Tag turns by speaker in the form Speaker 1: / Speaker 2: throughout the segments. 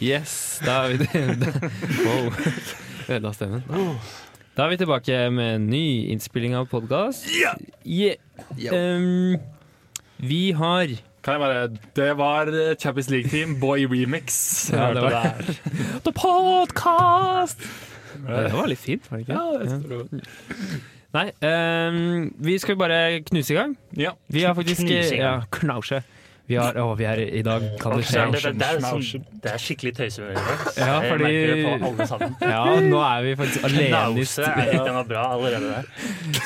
Speaker 1: Yes, da er vi Wow. Ødela stemmen. Da er vi tilbake med en ny innspilling av podkast. Yeah. Ehm, vi har
Speaker 2: Kan jeg bare Det var eh, Champions League-team, Boy Remix. Jeg
Speaker 1: Ja, det
Speaker 2: hørte
Speaker 1: var-
Speaker 2: det.
Speaker 1: The Podcast! Det var litt fint, var det ikke?
Speaker 2: Ja, jeg tror det.
Speaker 1: Nei, ehm, vi skal bare knuse i gang.
Speaker 2: Ja.
Speaker 1: Vi har faktisk
Speaker 3: Knuse i gang.
Speaker 1: Ja, knause. Vi har Å, vi er i dag kan det
Speaker 3: Det,
Speaker 1: skje.
Speaker 3: det, det, er sånn, det er skikkelig tøysehumør.
Speaker 1: Ja,
Speaker 3: Jeg
Speaker 1: fordi-
Speaker 3: merker det på alle sammen.
Speaker 1: Ja, nå er vi faktisk alene i
Speaker 3: Knause,
Speaker 1: studio.
Speaker 3: er- den var bra allerede der.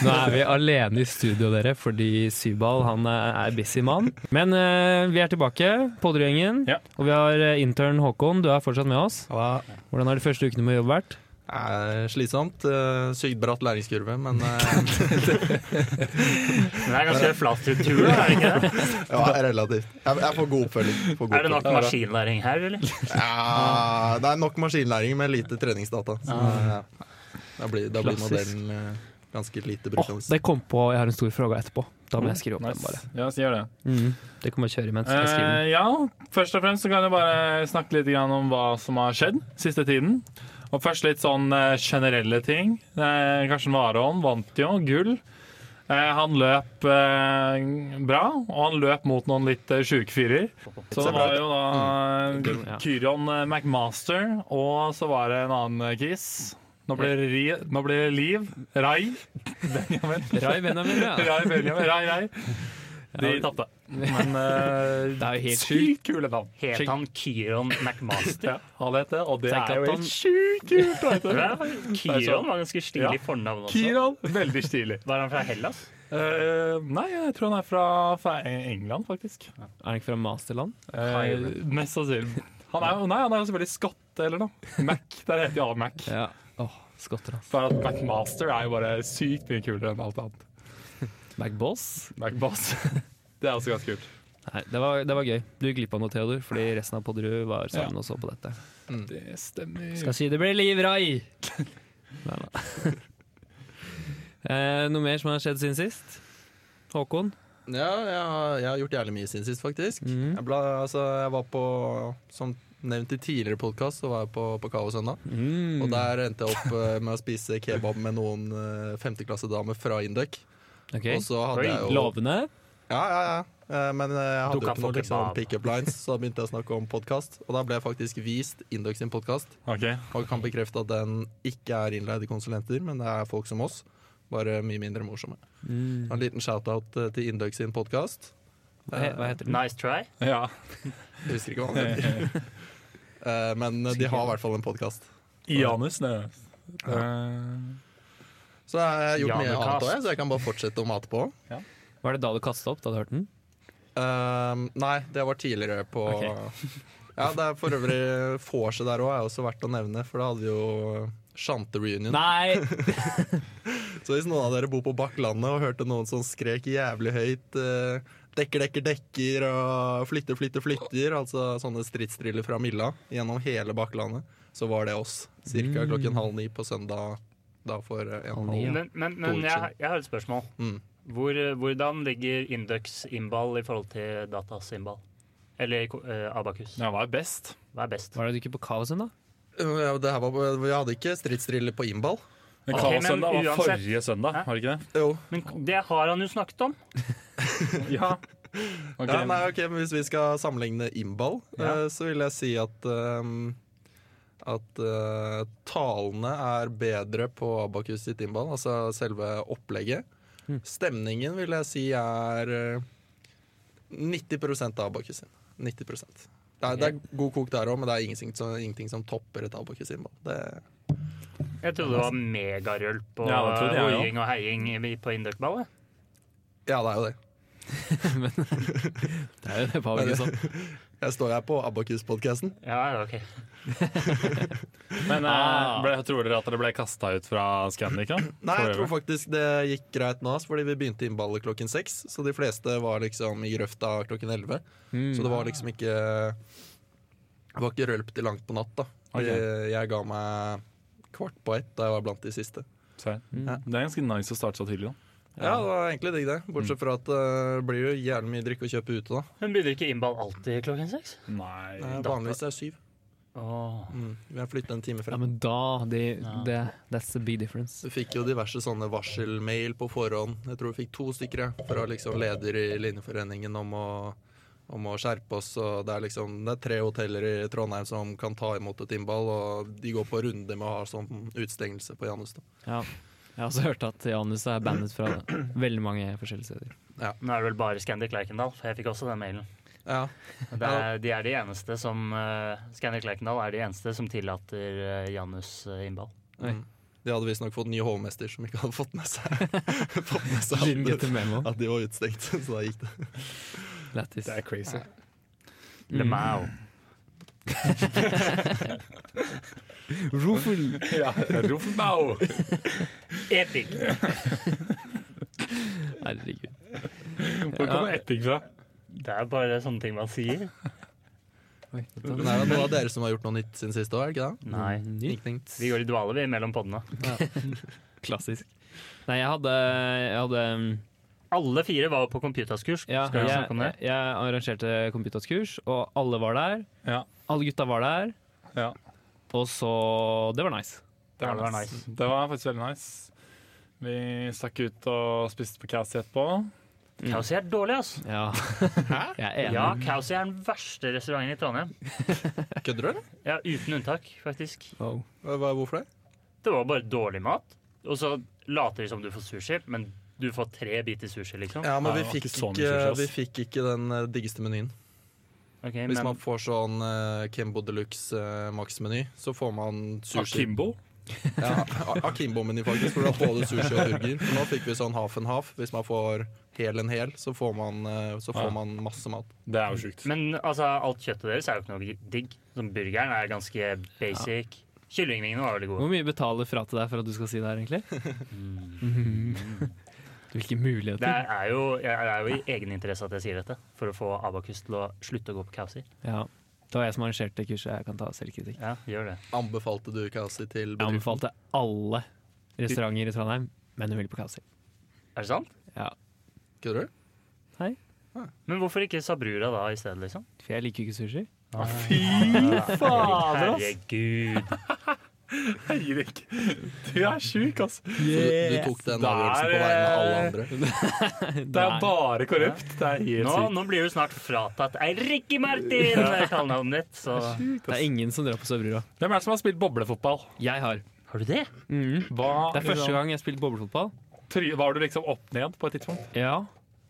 Speaker 1: Nå er vi alene i studio, dere, fordi Sybal han er er busy mann. Men eh, vi er tilbake, Podderud-gjengen.
Speaker 2: Ja.
Speaker 1: Og vi har eh, intern Håkon, du er fortsatt med oss. Hvordan har de første ukene med jobb vært?
Speaker 4: er slitsomt. eh, Sykt bratt læringskurve, men eh,
Speaker 3: Men det er ganske flat struktur, da, er det ikke det?
Speaker 4: ja, relativt. Jeg, jeg får god oppfølging. Får god
Speaker 3: Er det nok
Speaker 4: oppfølging.
Speaker 3: maskinlæring her, eller?
Speaker 4: Ja, det er nok maskinlæring med lite treningsdata. Så, ja. Da blir, da blir
Speaker 1: Klassisk.
Speaker 4: modellen eh, ganske lite altså.
Speaker 1: Åh,
Speaker 4: brukende.
Speaker 1: det kom på, jeg har en stor spørsmål etterpå. Da må jeg skrive opp den bare.
Speaker 2: Nice. Ja, så gjør det.
Speaker 1: Mm, det kan man kjøre imens. Jeg skriver den.
Speaker 2: Eh, ja, først og fremst så kan jeg bare snakke litt grann om hva som har skjedd siste tiden. Og først litt sånn eh, generelle ting. Eh, Karsten Warholm vant jo gull. Eh, han løp eh, bra, og han løp mot noen litt eh, sjuke fyrer. Så det var jo da
Speaker 1: Mm. Gull, ja.
Speaker 2: eh, Kyrion eh, McMaster, og så var det en annen eh, kis. Nå blir det, ri, nå blir det Liv. Rai. Benjamin.
Speaker 1: Rai Benjamin, ja.
Speaker 2: Eh, Rai, Benjamin. Rai, Rai. De tapte. Men eh,
Speaker 1: Det er jo helt sjukt.
Speaker 2: Sykt kule navn.
Speaker 3: Het han Kyron McMaster?
Speaker 2: Ja, han heter det, og det
Speaker 1: Så jeg
Speaker 2: er jo
Speaker 1: kan
Speaker 2: helt sjukt kult! vet
Speaker 3: Det
Speaker 2: du.
Speaker 3: er faktisk- Kyron var ganske stilig
Speaker 2: Ja.
Speaker 3: fornavn også.
Speaker 2: Kiran, veldig stilig.
Speaker 3: Var han fra Hellas?
Speaker 2: Eh, nei, jeg tror han er fra, fra England, faktisk.
Speaker 1: Er han ikke fra masterland?
Speaker 2: Eh, mest sannsynlig. Han er, jo- nei, han er jo selvfølgelig skotte eller noe. Mac. Der heter jo alle Mac.
Speaker 1: Ja. Åh, skotter, ass.
Speaker 2: For at MacMaster er jo bare sykt mye kulere enn alt annet.
Speaker 1: McBoss?
Speaker 2: MacBoss. Det er også ganske kult.
Speaker 1: Nei, det var, det var gøy. Du gikk glipp av noe, Theodor, fordi resten av Podderud var sammen
Speaker 2: Ja.
Speaker 1: og så på dette.
Speaker 2: Mm. Det stemmer.
Speaker 1: Skal si det blir liv, Rai! Nei da. eh, noe mer som har skjedd siden sist? Håkon?
Speaker 4: Ja, jeg, har- jeg har gjort jævlig mye siden sist, faktisk.
Speaker 1: Mhm.
Speaker 4: Jeg, ble, altså, jeg var på, som nevnt i tidligere podkast, så var jeg på, på Kakao søndag.
Speaker 1: Mhm.
Speaker 4: Og der endte jeg opp eh, med å spise kebab med noen eh, femteklassedamer fra Induc.
Speaker 1: Ok,
Speaker 4: Og så hadde jeg jo
Speaker 1: Lovende?
Speaker 4: Ja, ja, ja. Eh, Men eh, jeg
Speaker 3: Du
Speaker 4: hadde jo
Speaker 3: kan
Speaker 4: ikke
Speaker 3: få
Speaker 4: noen liksom,
Speaker 3: kebab.
Speaker 4: pick-up lines, så da begynte jeg å snakke om podkast. Og da ble jeg faktisk vist Induc sin podkast,
Speaker 2: Ok.
Speaker 4: og kan bekrefte at den ikke er innleide konsulenter, men det er folk som oss. Bare mye mindre morsomme. En liten shout-out eh, til Induc sin podkast.
Speaker 1: Hva, he- hva heter den?
Speaker 3: Nice try.
Speaker 2: Ja.
Speaker 4: Jeg husker ikke hva han heter. Eh, Men eh, de har i hvert fall en podkast.
Speaker 2: Janus, det. Eh,
Speaker 4: Så jeg har gjort mye
Speaker 3: Janekast.
Speaker 4: annet òg, så jeg kan bare fortsette å mate på.
Speaker 1: Var det da du kasta opp? Da du hørte den?
Speaker 4: Ehm, nei, det var tidligere på Ja, det er for øvrig vorset der òg, er også verdt å nevne, for da hadde vi jo Shante reunion.
Speaker 1: Nei!
Speaker 4: Så hvis noen av dere bor på Bakklandet og hørte noen som skrek jævlig høyt eh, 'dekker, dekker, dekker' og 'flytter, flytter, flytter', altså sånne stridsdriller fra Milla gjennom hele Bakklandet, så var det oss. Cirka klokken halv ni på søndag da for eh, en halv
Speaker 1: Mm. Halv ni, ja.
Speaker 3: Men, men, men jeg, jeg har et spørsmål.
Speaker 4: Mm.
Speaker 3: Hvor, eh, hvordan ligger Indux Imbal i forhold til Datas Imbal? Eller eh, Abakus?
Speaker 2: ja, hva er best?
Speaker 3: Hva er best?
Speaker 1: Var det du ikke på Kaosen, da?
Speaker 4: Eh, ja, det her var, på- vi hadde ikke stridsdriller på innball.
Speaker 2: Men
Speaker 3: Ok,
Speaker 2: Kaossøndag
Speaker 3: men
Speaker 2: var
Speaker 3: uansett-
Speaker 2: forrige søndag,
Speaker 3: Hæ?
Speaker 2: var det ikke det?
Speaker 4: Jo.
Speaker 3: Men det har han jo snakket om.
Speaker 2: Ja. Ok.
Speaker 4: Ja, nei, ok, men Hvis vi skal sammenligne innball, eh, så vil jeg si at ehm, at eh, talene er bedre på Abakus sitt innball, altså selve opplegget. Stemningen vil jeg si er eh, 90 av Abakus sin. 90 det er, det er god kok der òg, men det er ingenting som, ingenting som topper et Abakus innball. Det,
Speaker 3: Jeg trodde det var megarølp og
Speaker 2: Ja, det trodde jeg også.
Speaker 3: hoiing og heiing i- på Induc-ballet.
Speaker 4: ja, det er jo det.
Speaker 1: Det er jo det var vel ikke sånn.
Speaker 4: Jeg står her på Abakus-podkasten.
Speaker 3: Ja, ja, ok.
Speaker 2: Men eh,
Speaker 1: Ah.
Speaker 2: ble, tror dere at dere ble kasta ut fra Scandic?
Speaker 4: Nei, jeg tror faktisk det gikk greit nå, ass, fordi vi begynte innballet klokken seks. Så de fleste var liksom i grøfta klokken elleve. Så det var liksom ikke Det var ikke rølp til langt på natt, da.
Speaker 2: Ok.
Speaker 4: Jeg, jeg ga meg kvart på ett da jeg var blant de siste.
Speaker 2: Så, ja. Mm. Det er ganske nice å starte så tidlig. Da.
Speaker 4: Ja, det var egentlig digg, det. Bortsett fra at eh, det blir jo jævlig mye drikk å kjøpe ute, da.
Speaker 3: Men begynner ikke innball alltid klokken seks?
Speaker 2: Nei.
Speaker 4: Eh, Vanligvis er det syv.
Speaker 3: Åh.
Speaker 4: Mm. Vi har flyttet en time
Speaker 1: Ja,
Speaker 4: frem.
Speaker 1: men da det,
Speaker 3: Ja.
Speaker 1: det, That's the big difference.
Speaker 4: Du fikk jo diverse sånne varselmail på forhånd. Jeg tror vi fikk to stykker jeg, fra liksom leder i Linjeforeningen om å, om å skjerpe oss. Og det, er liksom, det er tre hoteller i Trondheim som kan ta imot et innball, og de går på runde med å ha sånn utstengelse på Janus. Da.
Speaker 1: Ja. Jeg har også hørt at Janus er bandet fra veldig mange forskjellige steder.
Speaker 3: Nå er det vel bare Scandic Lerkendal, for jeg fikk også den mailen.
Speaker 4: Ja,
Speaker 3: Det er, de er de eneste som eh, Scandic Lerkendal er de eneste som tillater eh, Janus eh, innball.
Speaker 4: Mm. De hadde visstnok fått ny hovmester som ikke hadde fått med seg, fått med seg
Speaker 1: Didn't get
Speaker 4: at,
Speaker 1: the memo.
Speaker 4: at de var utestengt. Så da gikk det.
Speaker 1: Lættis. Mm.
Speaker 2: er crazy.
Speaker 3: Le Mau.
Speaker 1: Rufel!
Speaker 2: Ja, Ruffenbau!
Speaker 3: Epic!
Speaker 1: Herregud.
Speaker 2: Hvor kommer Epic fra?
Speaker 3: Det er bare sånne ting man sier.
Speaker 1: Oi, da-
Speaker 4: Men er det noen av dere som har gjort noe nytt siden sist år, er det ikke det?
Speaker 3: Nei.
Speaker 1: Ny.
Speaker 4: Ingenting.
Speaker 3: Vi går i dvale, vi, mellom podene.
Speaker 1: Klassisk. Nei, jeg hadde, jeg hadde um,
Speaker 3: Alle fire var på computerskurs.
Speaker 1: ja,
Speaker 3: Skal vi snakke
Speaker 1: jeg,
Speaker 3: om det?
Speaker 1: jeg arrangerte computerskurs, og alle var der.
Speaker 2: Ja.
Speaker 1: Alle gutta var der.
Speaker 2: ja.
Speaker 1: Og så Det var nice.
Speaker 2: Det var,
Speaker 3: Ja, det var
Speaker 2: nice.
Speaker 3: nice.
Speaker 2: Det var faktisk veldig nice. Vi stakk ut og spiste på Cassie etterpå.
Speaker 3: Kausi er dårlig, altså.
Speaker 1: Ja. Jeg er enig.
Speaker 3: Ja, Kausi er den verste restauranten i Trondheim.
Speaker 4: Kødder du, eller?
Speaker 3: Ja, Uten unntak, faktisk.
Speaker 1: Wow.
Speaker 4: Hva- hva- Hvorfor det?
Speaker 3: Det var bare dårlig mat. Og så later de som du får sushi, men du får tre biter sushi, liksom.
Speaker 4: Ja, men
Speaker 2: Nei,
Speaker 4: vi
Speaker 2: det var
Speaker 4: fikk
Speaker 2: ikke sånn
Speaker 4: ikke,
Speaker 2: sushi, ass.
Speaker 4: vi fikk ikke den eh, diggeste menyen.
Speaker 3: Ok,
Speaker 4: Hvis
Speaker 3: men
Speaker 4: man får sånn uh, Kimbo Deluxe uh, maksmeny, så får man sushi.
Speaker 2: Akimbo.
Speaker 4: Ja, A- Akimbo-meny, faktisk. For da får du sushi og burger. Men Nå fikk vi sånn half and half. Hvis man får hel en hel, så får man, eh, så
Speaker 2: Ja.
Speaker 4: får man masse mat.
Speaker 2: Det er jo sjukt.
Speaker 3: Men altså, alt kjøttet deres er jo ikke noe digg. Som burgeren er ganske basic. Kyllingvingene var veldig gode.
Speaker 1: Hvor mye betaler fra til deg for at du skal si det her, egentlig? Hvilke
Speaker 3: Mm. Det
Speaker 1: muligheter.
Speaker 3: er jo, jeg er jo i egeninteresse at jeg sier dette, for å få Abakus til å slutte å gå på Kausi.
Speaker 1: Ja. Det var jeg som arrangerte kurset, jeg kan ta selvkritikk.
Speaker 3: Ja, gjør det.
Speaker 4: Anbefalte du Kasi til
Speaker 1: Jeg
Speaker 4: bedriften?
Speaker 1: anbefalte alle restauranter i Trondheim, men hun ville på Kasi.
Speaker 3: Er det sant?
Speaker 1: Ja.
Speaker 4: Kødder du?
Speaker 1: Hei.
Speaker 3: Men hvorfor ikke Sabrura da i stedet, liksom?
Speaker 1: For jeg liker ikke sushi.
Speaker 2: Fy fader, ass!
Speaker 3: Herregud.
Speaker 2: Eirik, du er sjuk, ass.
Speaker 4: Så du, du tok den avgjørelsen på
Speaker 2: Der,
Speaker 4: vegne av alle
Speaker 2: eh,
Speaker 4: andre?
Speaker 2: Det er bare korrupt. Det er helt
Speaker 3: Nå,
Speaker 2: sykt.
Speaker 3: nå blir du snart fratatt Eirik Martin! er Kallenavnet ditt, så
Speaker 1: Det er ingen som drar på Søbrura.
Speaker 2: Hvem er det som har spilt boblefotball?
Speaker 1: Jeg har.
Speaker 3: Har du det?
Speaker 1: Mhm.
Speaker 2: Hva, liksom,
Speaker 1: Det er første gang jeg har spilt boblefotball.
Speaker 2: Try- Var du liksom opp ned på et tidspunkt?
Speaker 1: Ja.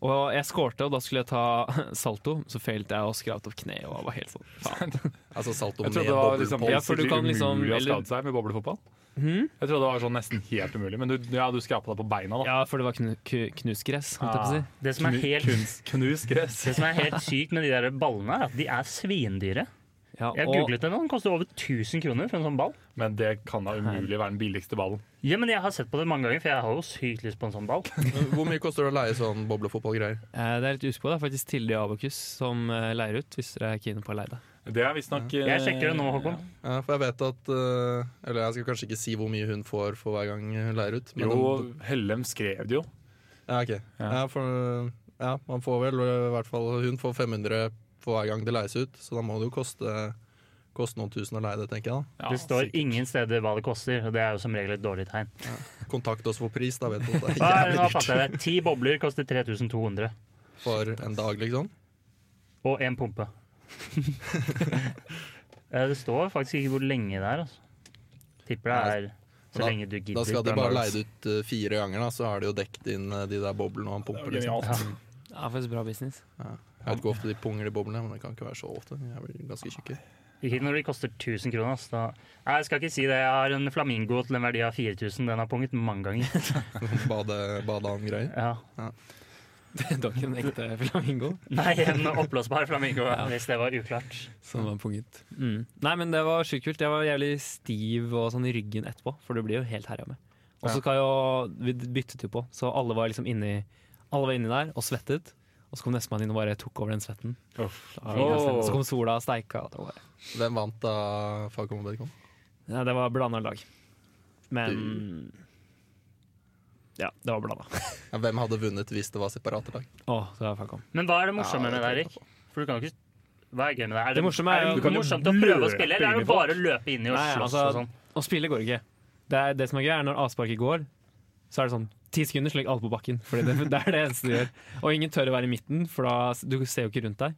Speaker 1: Og jeg skårte, og da skulle jeg ta salto. Så feilte jeg og skrapte opp kneet. Og jeg var helt sånn. faen.
Speaker 4: Altså salto med
Speaker 2: Jeg trodde det var
Speaker 4: boble
Speaker 2: liksom
Speaker 4: på?
Speaker 1: Ja, for du kan
Speaker 2: sikkert
Speaker 1: liksom-
Speaker 2: umulig å
Speaker 1: eller-
Speaker 2: skade seg med boblefotball.
Speaker 1: Mhm.
Speaker 2: Jeg trodde det var sånn nesten helt umulig, men du, ja, du skrapa deg på beina, da.
Speaker 1: Ja, for det var knu ku- knusgress, holdt jeg på å si.
Speaker 2: Ah,
Speaker 3: Det som er
Speaker 2: knu-
Speaker 3: helt
Speaker 2: kunst- Knust gress.
Speaker 3: Det som er helt sykt med de der ballene, er at de er svindyre.
Speaker 1: Ja,
Speaker 3: Jeg
Speaker 1: og-
Speaker 3: googlet det nå, den koster over 1000 kroner for en sånn ball.
Speaker 2: Men det kan da umulig være den billigste ballen.
Speaker 3: Ja, men jeg har sett på det mange ganger, for jeg har jo sykt lyst på en sånn ball.
Speaker 4: Hvor mye koster det å leie sånn boblefotballgreier?
Speaker 1: Eh, Det er litt usikker på. Det er faktisk Tilde i Abakus som eh, leier ut, hvis dere er keene på å leie det.
Speaker 2: Det er visstnok eh,
Speaker 3: Jeg sjekker det nå, Håkon.
Speaker 4: Ja, for jeg vet at eh, Eller jeg skal kanskje ikke si hvor mye hun får for hver gang hun leier ut. men
Speaker 2: Jo,
Speaker 4: hun-
Speaker 2: Hellem skrev det jo.
Speaker 4: Ja, ok. Ja. for, ja, man får vel eh, i hvert fall Hun får 500 for hver gang det leies ut, så da må det jo koste, koste noen tusen å leie det, tenker jeg.
Speaker 2: Ja,
Speaker 3: Det står
Speaker 2: sikkert.
Speaker 3: ingen steder hva det koster, og det er jo som regel et dårlig tegn.
Speaker 4: da Kontakt oss for pris, da vet du at det
Speaker 3: Hva
Speaker 4: er
Speaker 3: er det nå
Speaker 4: jævlig
Speaker 3: fatter jeg det? Ti bobler koster
Speaker 4: dyrt
Speaker 3: 3200.
Speaker 4: for en dag, liksom.
Speaker 3: Og én pumpe. Eh, det står faktisk ikke hvor lenge det er, altså. Tipper det er så
Speaker 4: Da-
Speaker 3: lenge du gidder.
Speaker 4: Da skal de
Speaker 3: Bjørn
Speaker 4: bare
Speaker 3: Lars.
Speaker 4: leie det ut eh, fire ganger, da, så har de jo dekt inn eh, de der boblene og han
Speaker 2: Det er
Speaker 4: pumper.
Speaker 2: jo
Speaker 4: Liksom.
Speaker 2: genialt.
Speaker 1: Det er faktisk bra business.
Speaker 4: Jeg vet ikke hvor ofte de punger de boblene, men det kan ikke være så ofte. Jeg blir ganske tjukke.
Speaker 3: Ikke når de koster 1000 kroner. ass. Da. Nei, jeg skal ikke si det. Jeg har en flamingo til en verdi av 4000. Den har punget mange ganger.
Speaker 4: Bade, badehand-greier.
Speaker 3: Ja.
Speaker 4: Ja.
Speaker 1: Det var ikke en ekte flamingo
Speaker 3: Nei, en oppblåsbar flamingo, hvis det var uklart.
Speaker 1: som var punget. Mm. Nei, men det var sjukt kult. Jeg var jævlig stiv og sånn i ryggen etterpå, for du blir jo helt herja med. Og så skal jo Vi byttet jo på, så alle var liksom inni Alle var inni der og svettet. Og så kom nestemann inn og bare tok over den svetten. Så kom sola og steika. Og det, var,
Speaker 4: Hvem vant da Fagkom og Bedkom?
Speaker 1: ja, det var blanda lag. Men Ja, det var blanda.
Speaker 4: Ja, hvem hadde vunnet hvis det var separate lag?
Speaker 1: Å, det var fuck om.
Speaker 3: Men hva er det morsomme
Speaker 4: Ja,
Speaker 3: med det,
Speaker 4: det
Speaker 3: Erik? For du kan jo ikke Hva er gøy med det? Er det,
Speaker 1: Det morsomme er
Speaker 3: er
Speaker 1: jo-
Speaker 3: det
Speaker 1: Du kan jo
Speaker 3: morsomt å prøve å
Speaker 2: løpe
Speaker 3: spille, eller er
Speaker 2: inn i
Speaker 3: det bare å løpe inn i og
Speaker 1: Nei,
Speaker 3: slåss
Speaker 1: altså-
Speaker 3: og sånn?
Speaker 1: Å spille går ikke. Det, er, det som er gøy, er når avsparket går, så er det sånn ti sekunder, så legger alle på bakken. Fordi det, det er det eneste du gjør. Og ingen tør å være i midten, for da s- du ser jo ikke rundt deg.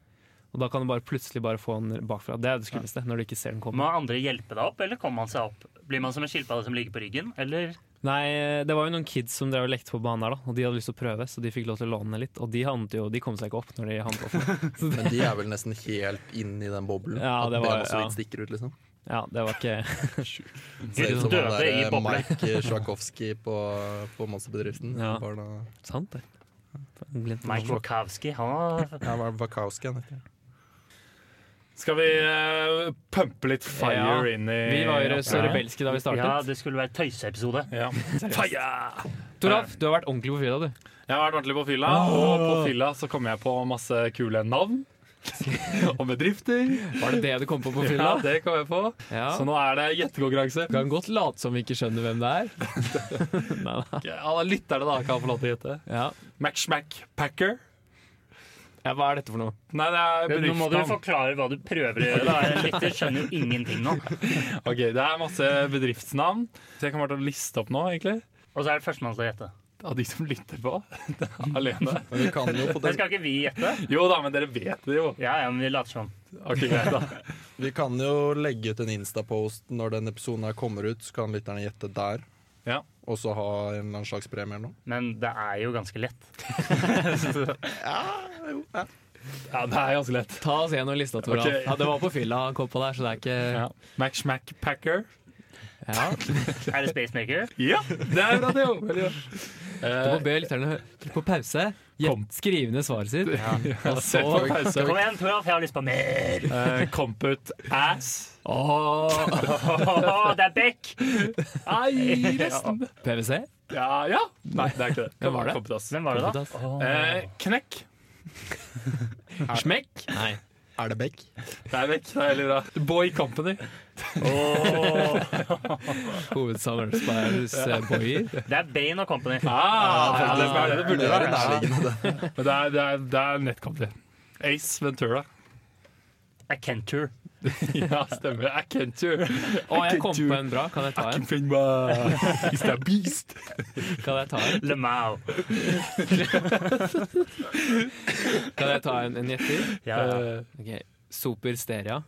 Speaker 1: Og da kan du bare plutselig bare få den bakfra. Det er det skumleste, når du ikke ser den komme.
Speaker 3: Må andre hjelpe deg opp, eller kommer man seg opp? Blir man som en skilpadde som ligger på ryggen, eller
Speaker 1: Nei, det var jo noen kids som drev og lekte på banen der, da, og de hadde lyst til å prøve, så de fikk lov til å låne litt. Og de, havnet jo, de kom seg ikke opp når de havnet opp.
Speaker 4: Men de er vel nesten helt inn i den boblen.
Speaker 1: Ja, det
Speaker 4: at
Speaker 1: var-
Speaker 4: bena så
Speaker 1: ja.
Speaker 4: vidt stikker ut, liksom.
Speaker 1: Ja, det var ikke
Speaker 4: Ser ut som
Speaker 3: døde
Speaker 4: han
Speaker 3: i
Speaker 4: der
Speaker 3: boble.
Speaker 4: Mike Sjakowski på, på Monsterbedriften.
Speaker 1: Ja.
Speaker 4: Barna,
Speaker 1: sant, det. Glemt navnet.
Speaker 3: Mike Wokowski, han har
Speaker 4: ja, hva er Wakowski han heter.
Speaker 2: Skal vi eh, pumpe litt fire
Speaker 1: Ja,
Speaker 2: inn i
Speaker 1: Vi var jo så rebelske da vi
Speaker 3: Ja,
Speaker 1: startet.
Speaker 3: det skulle være tøyseepisode.
Speaker 2: Ja. Fire!
Speaker 1: Toralf, du har vært ordentlig på fyra, du.
Speaker 2: Jeg har vært ordentlig på fylla, og på fylla så kom jeg på masse kule navn. og bedrifter.
Speaker 1: Var det det du kom på på
Speaker 2: Ja,
Speaker 1: fylla?
Speaker 2: det kom jeg på.
Speaker 1: Ja.
Speaker 2: Så nå er det gjettekonkurranse.
Speaker 1: Kan godt late som vi ikke skjønner hvem det er. Nei da.
Speaker 2: Alle lytterne da kan få lov til å gjette.
Speaker 1: Ja.
Speaker 2: Mac-Schmack Packer.
Speaker 1: Ja, hva er dette for noe?
Speaker 2: Nei, det er
Speaker 3: Nå må du
Speaker 2: bedriftsnavn.
Speaker 3: forklare hva du prøver å gjøre. da. Lytter skjønner jo ingenting nå.
Speaker 2: Ok, Det er masse bedriftsnavn. Så jeg kommer til å liste opp nå, egentlig.
Speaker 3: Og så er det førstemann til å gjette.
Speaker 2: Av de som lytter på. Alene.
Speaker 4: Men du kan jo,
Speaker 3: Men
Speaker 4: poten
Speaker 3: skal ikke vi gjette?
Speaker 2: Jo da, men dere vet det jo.
Speaker 3: Ja, ja, men vi later som.
Speaker 2: Ok, greit da.
Speaker 4: vi kan jo legge ut en Insta-post når den episoden her kommer ut, så kan lytterne gjette der.
Speaker 2: Ja.
Speaker 4: Og så ha en eller annen slags premie eller noe.
Speaker 3: Men det er jo ganske lett.
Speaker 2: Ja, det er ganske lett.
Speaker 1: Ta oss gjennom lista, Tora.
Speaker 2: Ok.
Speaker 1: Ja, det var på fylla han kom på der, så det er ikke
Speaker 2: Ja. Mac-Schmack Packer.
Speaker 1: Ja.
Speaker 3: Er det Spacemaker?
Speaker 2: Ja, det er bra, det er jo. Veldig bra. Eh,
Speaker 1: Du må be lytterne hø- trykke på pause,
Speaker 2: Kom.
Speaker 1: gjett- skrive ned svaret sitt, og så
Speaker 2: Sett på pause.
Speaker 3: Kom igjen, Toralf, jeg har lyst på mer!
Speaker 2: Eh, Comput Ass.
Speaker 1: Åh,
Speaker 3: Åh, det er Beck!
Speaker 2: Nei, resten.
Speaker 1: PwC?
Speaker 2: Ja, ja. Nei, det er ikke det.
Speaker 1: Hvem var det?
Speaker 2: Comput Ass.
Speaker 3: Hvem var det, da?
Speaker 1: Kompetas.
Speaker 2: Eh, knekk.
Speaker 1: Smekk? Nei.
Speaker 4: Er det Beck?
Speaker 2: Det er vekk. Det er veldig bra. Boy Company.
Speaker 1: Hovedsamarbeidspartners eh, Boyer.
Speaker 3: Det er Bane og Company.
Speaker 2: Ah, ja, det er det det burde
Speaker 4: Mer
Speaker 2: være.
Speaker 4: nærliggende det.
Speaker 2: Men det er, det er, det er nettkompany. Ace Ventura.
Speaker 3: Det er Kentur.
Speaker 2: Ja, stemmer. I can't you.
Speaker 1: Å, jeg kom på en bra. Kan jeg ta en?
Speaker 2: Is that beast?
Speaker 1: Kan jeg ta en,
Speaker 3: LeMau.
Speaker 1: kan jeg ta en, en gjetter?
Speaker 3: Ja, ja.
Speaker 2: Eh,
Speaker 1: Ok. Super Steria.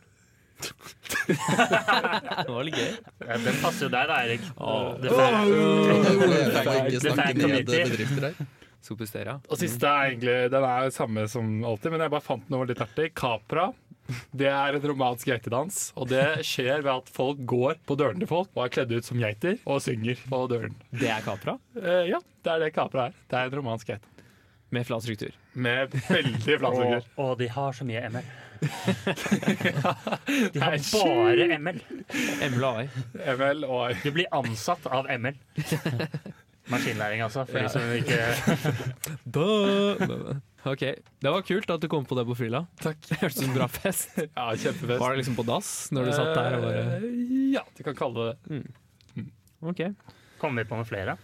Speaker 1: Det var litt gøy.
Speaker 3: Ja, Den passer jo deg, da, Erik.
Speaker 1: Åh.
Speaker 3: Det er
Speaker 4: Jeg får ikke
Speaker 3: Dette er
Speaker 4: snakke ned
Speaker 3: community.
Speaker 4: bedrifter her.
Speaker 1: Super Steria.
Speaker 2: Og siste er egentlig Den er jo samme som alltid, men jeg bare fant noe litt artig. Capra. Det er en romansk geitedans, og det skjer ved at folk går på dørene til folk og er kledd ut som geiter og synger på døren.
Speaker 1: Det er Capra,
Speaker 2: Eh, ja, det er det Capra er. Det er en romansk geit.
Speaker 1: med flat struktur.
Speaker 2: Med veldig flat
Speaker 3: Og,
Speaker 2: skulder.
Speaker 3: og de har så mye ML. De har
Speaker 2: Nei, sju.
Speaker 3: bare ML.
Speaker 1: Emil og AI.
Speaker 2: ML og
Speaker 3: Du blir ansatt av ML. Maskinlæring, altså. For de som ikke
Speaker 1: Ok, Det var kult at du kom på det på fylla. Takk. Hørtes ut som en bra fest.
Speaker 2: Ja, kjempefest.
Speaker 1: Var det liksom på dass når du satt der? og bare...
Speaker 2: Eh, Ja, du kan kalle det det.
Speaker 1: Eh, Ok. Jeg,
Speaker 3: Kommer vi på noen flere?
Speaker 1: var-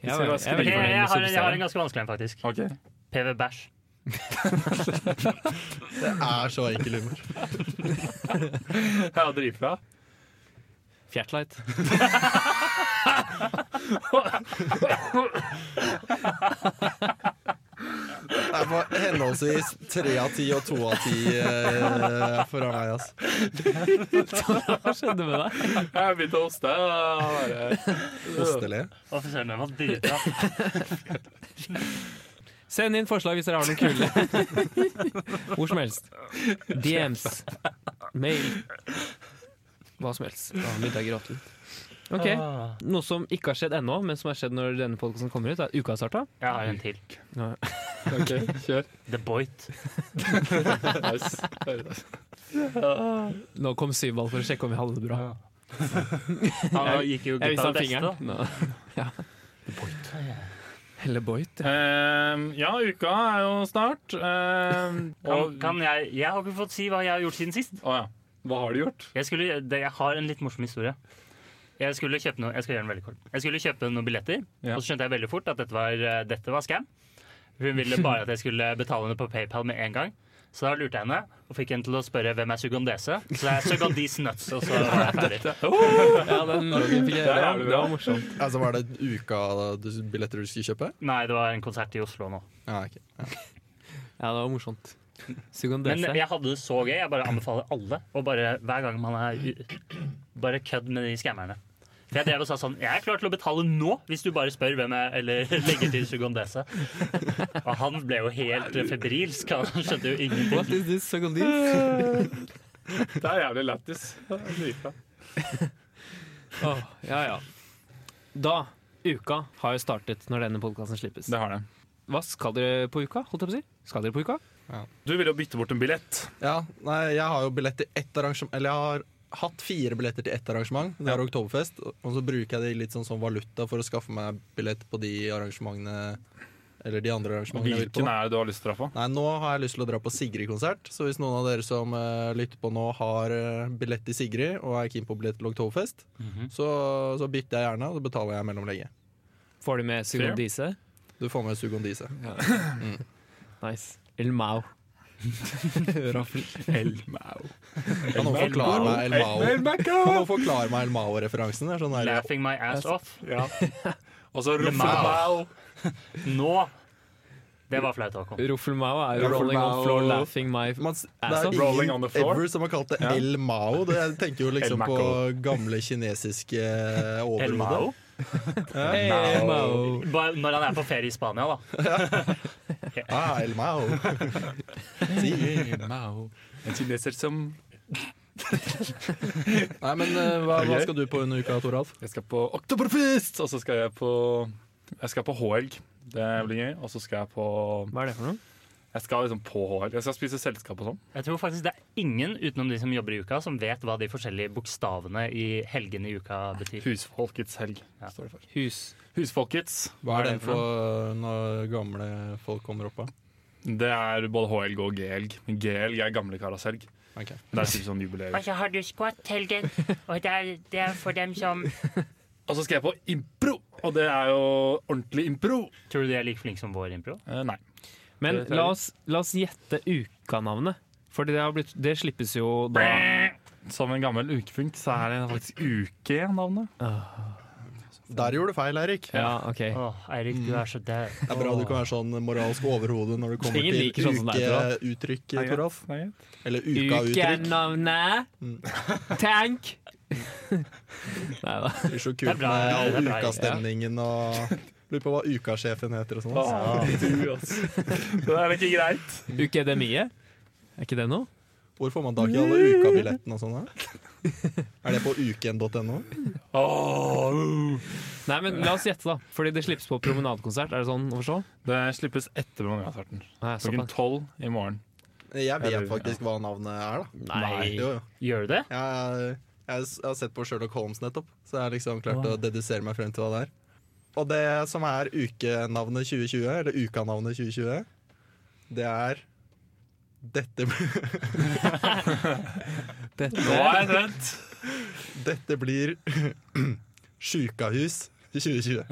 Speaker 1: jeg, var
Speaker 2: Ok,
Speaker 1: veldig fornøyd
Speaker 3: Jeg, jeg,
Speaker 1: med
Speaker 3: har,
Speaker 1: Super
Speaker 3: jeg har en
Speaker 1: Steria.
Speaker 3: ganske vanskelig en, faktisk.
Speaker 2: Ok.
Speaker 3: PV Bæsj.
Speaker 4: Det er så enkel humor.
Speaker 2: Ja, dritbra.
Speaker 1: Fjertlight.
Speaker 4: Det er på henholdsvis tre av ti og to av ti eh, foran meg, ass.
Speaker 1: Hva skjedde med deg?
Speaker 2: Jeg begynte å hoste. og bare-
Speaker 4: Hostelig.
Speaker 3: Offiseren den var drita.
Speaker 1: Send inn forslag hvis dere har noen kule. Hvor som helst. DMs. Mail. Hva som helst. Da har middag gratis. Ok.
Speaker 3: Ah,
Speaker 1: Noe som ikke har skjedd ennå, men som har skjedd når denne podkasten kommer ut, er at uka har starta.
Speaker 3: Jeg har en til.
Speaker 1: Ja.
Speaker 2: OK, kjør.
Speaker 3: The Boit.
Speaker 2: Nice.
Speaker 1: Nå kom syvball for å sjekke om vi hadde det bra.
Speaker 3: Han gikk
Speaker 1: Jeg
Speaker 3: jo
Speaker 1: viste
Speaker 3: glipp av
Speaker 1: han
Speaker 3: det beste.
Speaker 1: fingeren. Nå. Ja. Eller Boit. ja.
Speaker 2: Ehm, ja, uka er jo snart. Ehm,
Speaker 3: da. Kan,
Speaker 2: og-
Speaker 3: kan jeg, jeg har ikke fått si hva jeg har gjort siden sist.
Speaker 2: Å ja. Hva har du gjort?
Speaker 3: Jeg, skulle, det, jeg har en litt morsom historie. Jeg skulle kjøpe, noe, jeg skal gjøre den veldig kort. Jeg skulle kjøpe noen billetter,
Speaker 2: Ja.
Speaker 3: og så skjønte jeg veldig fort at dette var, eh, dette var scam. Hun ville bare at jeg skulle betale henne på PayPal med en gang. Så da lurte jeg henne, og fikk henne til å spørre hvem er Sugandese. Så jeg er Sugandese Nuts, og så var jeg ferdig.
Speaker 1: Ja, den logen fikk jeg
Speaker 2: Der
Speaker 1: høre.
Speaker 2: er du
Speaker 1: Det var
Speaker 2: bra.
Speaker 1: morsomt.
Speaker 4: Altså, var det uka du, billetter du skulle kjøpe?
Speaker 3: Nei, det var en konsert i Oslo nå.
Speaker 4: Ja, ok. Ja.
Speaker 1: Ja, det var morsomt.
Speaker 3: Men
Speaker 1: Sugandese.
Speaker 3: jeg hadde det så gøy. Jeg bare anbefaler alle å bare hver gang man er u- Bare kødd med de skammerne. For jeg drev og sa sånn Jeg er klar til å betale nå, hvis du bare spør hvem jeg Eller legger til Sugondese. Og han ble jo helt febrilsk. Han skjønte jo
Speaker 1: What
Speaker 3: ingenting.
Speaker 1: is this Sugandese?
Speaker 2: Det er jævlig lættis. Det er dritbra.
Speaker 1: Åh, ja, ja. Da, uka har jo startet når denne podkasten slippes.
Speaker 2: Det har det.
Speaker 1: Hva skal dere på uka? Holdt jeg på å si? Skal dere på uka?
Speaker 2: Du ville jo bytte bort en billett.
Speaker 4: ja, nei, jeg har jo billett til ett arrangement Eller jeg har hatt fire billetter til ett arrangement. Det er Oktoberfest. Og så bruker jeg det litt sånn som valuta for å skaffe meg billett på de arrangementene Eller de andre arrangementene jeg vil på.
Speaker 2: Hvilken er det du har lyst til å dra på?
Speaker 4: Nei, nå har jeg lyst til å dra på Sigrid-konsert, så hvis noen av dere som eh, lytter på nå har eh, billett til Sigrid og er keen på billett til Oktoberfest,
Speaker 2: Mhm.
Speaker 4: så, så bytter jeg gjerne, og så betaler jeg mellomlegget.
Speaker 1: Får du med Sugandise?
Speaker 4: Du får med Sugondise.
Speaker 1: Nice. El Mao.
Speaker 4: Kan noen
Speaker 3: El
Speaker 4: forklare
Speaker 3: Mao.
Speaker 4: meg El Mao? Kan noen forklare meg El Mao-referansen? Det er sånn der-
Speaker 3: Laughing my ass off.
Speaker 2: Og så
Speaker 3: The
Speaker 2: Ruffel.
Speaker 3: Mao. Nå. Det var flaut, Håkon.
Speaker 1: Ruffel Mao er jo
Speaker 4: Ruffel
Speaker 1: rolling on
Speaker 4: Mao.
Speaker 1: floor laughing my
Speaker 4: Man s- det
Speaker 1: Ass
Speaker 4: er
Speaker 1: off.
Speaker 2: Rolling on
Speaker 4: ingen
Speaker 2: the floor.
Speaker 4: ever som har kalt det
Speaker 2: Ja.
Speaker 4: El Mao. Det, jeg tenker jo liksom
Speaker 2: El
Speaker 4: på
Speaker 2: Mao.
Speaker 4: gamle kinesiske eh,
Speaker 3: El
Speaker 4: overhodet.
Speaker 3: Mao. Bare Når han er på ferie i Spania, da.
Speaker 4: Ah, El Mao. Si.
Speaker 2: En kineser som
Speaker 4: Nei, men eh, hva, hva
Speaker 2: Ok.
Speaker 4: skal du på under uka, Toralf?
Speaker 2: Jeg skal på Oktoberfest! Og så skal jeg på Jeg skal på HLG. Det blir gøy. Og så skal jeg på
Speaker 1: Hva er det for noe?
Speaker 2: Jeg skal liksom på HLG. Jeg skal spise selskap og sånn.
Speaker 3: Jeg tror faktisk det er ingen utenom de som jobber i uka, som vet hva de forskjellige bokstavene i helgene i uka betyr.
Speaker 2: Husfolkets helg,
Speaker 3: Ja.
Speaker 2: står det for.
Speaker 1: Hus.
Speaker 2: Husfolkets.
Speaker 4: Hva er den
Speaker 2: noe?
Speaker 4: for når gamle folk kommer opp av?
Speaker 2: Det er både HLG og G-helg. Men G-helg er gamle karas helg.
Speaker 4: Ok.
Speaker 2: Det er typ sånn jubileum.
Speaker 3: så har du skvatthelgen, og det er, for dem som
Speaker 2: Og så skal jeg på impro, og det er jo ordentlig impro.
Speaker 3: Tror du de er like flinke som vår impro?
Speaker 2: Eh, nei.
Speaker 1: Men
Speaker 2: Det tror jeg.
Speaker 1: la oss, la oss gjette ukanavnet. For det, har blitt, det slippes jo da
Speaker 2: Som en gammel ukefunk, så er det faktisk uke-navnet.
Speaker 4: Der gjorde du feil, Eirik.
Speaker 1: Ja, OK.
Speaker 3: Åh, Eirik, du er så dau.
Speaker 4: Det er bra du kan være sånn moralsk overhode når det kommer
Speaker 1: Ingen
Speaker 4: til
Speaker 1: liker sånn som deg, Toralf.
Speaker 4: ukeuttrykk,
Speaker 2: Nei,
Speaker 4: Toralf.
Speaker 2: nei.
Speaker 4: Eller ukauttrykk.
Speaker 1: Ukanavnet!
Speaker 4: Mm.
Speaker 1: Tank! Nei da.
Speaker 4: Det blir så kult
Speaker 3: Det er bra,
Speaker 4: med
Speaker 3: det er
Speaker 4: all
Speaker 3: bra, Eirik.
Speaker 4: ukastemningen og Lurer på hva ukasjefen heter og sånn. ass.
Speaker 2: du, altså. Det er ikke greit.
Speaker 1: Ukedemiet? Er ikke det noe?
Speaker 4: Hvor får man tak i alle ukabillettene og sånn? da? Er det på uken.no?
Speaker 2: Åh. uh.
Speaker 1: Nei, men la oss gjette, da. Fordi det slippes på promenadekonsert. Er det sånn å forstå?
Speaker 2: Det slippes etter Ballongasarten.
Speaker 1: Nei, såpass.
Speaker 2: Klokken tolv i morgen.
Speaker 4: Jeg
Speaker 2: Eller,
Speaker 4: vet faktisk hva navnet er, da.
Speaker 1: Nei.
Speaker 4: Jo, jo.
Speaker 3: Gjør du det?
Speaker 4: Jeg, jeg, jeg har sett på Sherlock Holmes nettopp, så jeg har liksom klart å dedusere meg frem til hva det er. Og det som er ukenavnet 2020, eller ukanavnet 2020, det er dette, bl-
Speaker 1: Dette
Speaker 2: Nå er jeg trent!
Speaker 4: dette blir sjukahus 2020.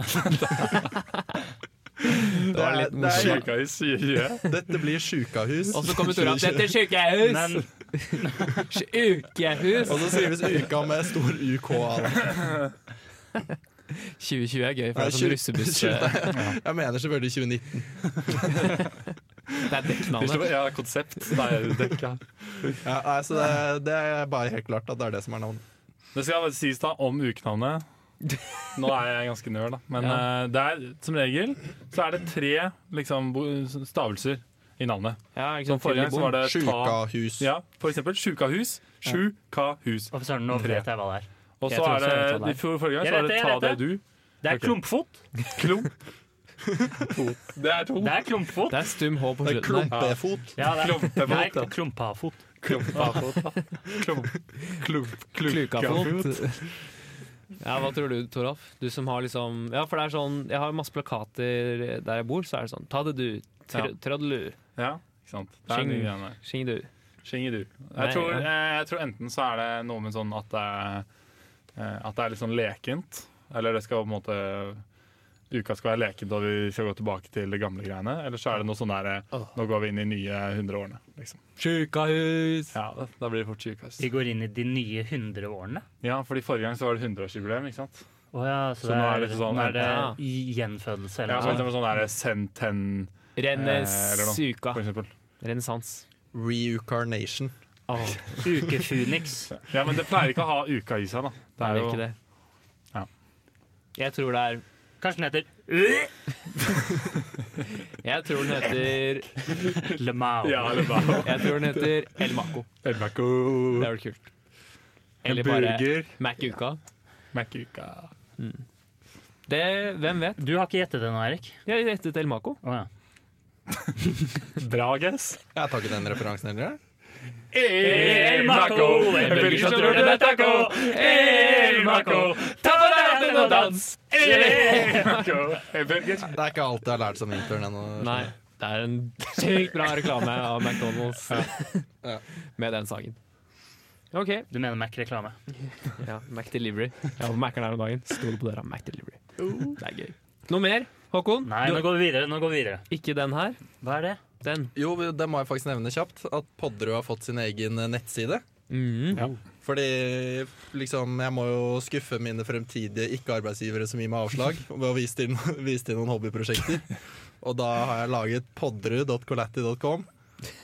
Speaker 4: Det
Speaker 1: var
Speaker 4: er-
Speaker 1: litt
Speaker 4: det er-
Speaker 2: Kirka i syre.
Speaker 4: Dette blir sjukahus.
Speaker 1: Og så kommer Tora at dette er sykehus!
Speaker 3: Men
Speaker 1: Ukehus!
Speaker 4: Og så skrives uka med stor UK. av det.
Speaker 1: 2020 er gøy, for det
Speaker 4: Nei,
Speaker 1: er sånn
Speaker 4: tjue-
Speaker 1: russebuss
Speaker 4: tjue-
Speaker 1: Det
Speaker 4: Jeg mener selvfølgelig 2019.
Speaker 1: er dekknavnet.
Speaker 2: Ja, konsept. Nei, dekka.
Speaker 4: Ja, nei, så det, det er bare helt klart at det er det som er navnet.
Speaker 2: Det skal bare sies da om ukenavnet. Nå er jeg ganske nør, da. Men
Speaker 1: Ja.
Speaker 2: eh, det er, som regel så er det tre liksom, bo- stavelser i navnet.
Speaker 1: Ja, ikke
Speaker 2: Som
Speaker 1: sant?
Speaker 2: forrige gang så var det ta...
Speaker 4: Sjukahus.
Speaker 2: Ja, for eksempel sjukahus. Sjukahus.
Speaker 3: Å, søren, nå vet jeg hva det er.
Speaker 2: Og
Speaker 1: Jeg
Speaker 2: så
Speaker 1: tror
Speaker 2: er
Speaker 1: også jeg vet hva
Speaker 2: det
Speaker 1: det er.
Speaker 2: i for- forrige gang
Speaker 3: Jeg
Speaker 2: så var
Speaker 3: vet
Speaker 2: det
Speaker 3: det,
Speaker 2: ta
Speaker 3: jeg
Speaker 2: det
Speaker 3: vet
Speaker 2: du.
Speaker 3: Det er
Speaker 2: Ok.
Speaker 3: klumpfot.
Speaker 2: Klump. Det er to.
Speaker 3: Det er klumpfot.
Speaker 1: Det er stum H på
Speaker 4: Det er
Speaker 1: slutten der.
Speaker 4: klumpefot.
Speaker 3: Ja, det er,
Speaker 2: Klumpefot,
Speaker 3: nei,
Speaker 4: ja.
Speaker 3: klumpafot.
Speaker 2: Klumpafot. Klump, klump,
Speaker 1: Klukafot. Ja, hva tror du, Toralf? Du som har liksom Ja, for det er sånn Jeg har masse plakater der jeg bor, så er det sånn Ta det du, tr
Speaker 2: Ja.
Speaker 1: trøddelu,
Speaker 2: Ja, ikke sant. Det er
Speaker 1: Skinn.
Speaker 2: de greiene.
Speaker 1: skjeng du.
Speaker 2: Shingidu.
Speaker 1: Nei,
Speaker 2: Jeg tror, eh, jeg tror enten så er det noe med sånn at det er, eh, at det er litt sånn lekent. Eller det skal på en måte Uka skal være lekent, og vi skal gå tilbake til de gamle greiene. Eller så er det noe sånn derre Nå går vi inn i nye hundreårene. Liksom.
Speaker 1: Sjukahus!
Speaker 2: Ja, da- da blir det fort sykehus.
Speaker 3: Vi går inn i de nye hundreårene.
Speaker 2: Ja, fordi forrige gang så var det hundreårsjubileum, ikke sant?
Speaker 3: Å ja, så,
Speaker 2: Så
Speaker 3: det
Speaker 2: nå
Speaker 3: er,
Speaker 2: er det litt sånn-
Speaker 3: nå er det
Speaker 1: Ja.
Speaker 3: gjenfødelse
Speaker 2: Ja,
Speaker 3: eller
Speaker 2: så
Speaker 3: noe sånt.
Speaker 2: liksom sånn derre Senten, Eh, eller noe.
Speaker 1: Rennessuka.
Speaker 2: for eksempel.
Speaker 1: Renessans.
Speaker 4: Reincarnation.
Speaker 1: Åh,
Speaker 3: Ukefuniks.
Speaker 2: Ja, men det pleier ikke å ha uka i seg, da.
Speaker 1: det er jo ikke
Speaker 2: jo
Speaker 1: det.
Speaker 2: Ja.
Speaker 1: Jeg tror det er
Speaker 3: Kanskje den heter øh,
Speaker 1: Jeg tror den heter
Speaker 3: Le Mao.
Speaker 2: Ja, eller bare
Speaker 1: Jeg tror den heter El Maco. Det
Speaker 2: Elbako.
Speaker 1: er vel kult.
Speaker 2: En
Speaker 1: Eller bare
Speaker 2: burger.
Speaker 1: Mac-uka.
Speaker 2: Mac-uka.
Speaker 1: Det, hvem vet?
Speaker 3: Du har ikke gjettet det nå, Erik?
Speaker 1: Jeg gjettet El Maco.
Speaker 3: Å ja.
Speaker 2: Bra guess.
Speaker 4: Jeg tar ikke den referansen heller. jeg.
Speaker 2: El Maco, en burger som tror den er taco. El Maco,
Speaker 1: ta på deg
Speaker 3: hatten og dans!
Speaker 2: El Maco, en burger.
Speaker 4: Det er ikke alt jeg har lært som intern ennå.
Speaker 1: Nei, det er en sykt bra reklame av McDonald's
Speaker 4: Ja.
Speaker 1: med den sangen. OK.
Speaker 3: Du mener Mac-reklame.
Speaker 1: Ja, Mac Delivery. Uh. Jeg var på Mac-en her om dagen. Stod på døra Mac Delivery. Det er gøy. Noe mer, Håkon?
Speaker 3: Nei, nå
Speaker 1: Du,
Speaker 3: går vi videre. nå går vi videre.
Speaker 1: ikke den her.
Speaker 3: Hva er det?
Speaker 1: Den.
Speaker 4: Jo, det må jeg faktisk nevne kjapt, at Podderud har fått sin egen eh, nettside.
Speaker 1: Mhm.
Speaker 4: Fordi liksom, jeg må jo skuffe mine fremtidige ikke-arbeidsgivere som gir meg avslag, ved å vise til, vise til noen hobbyprosjekter. Og da har jeg laget podderud.colatti.com.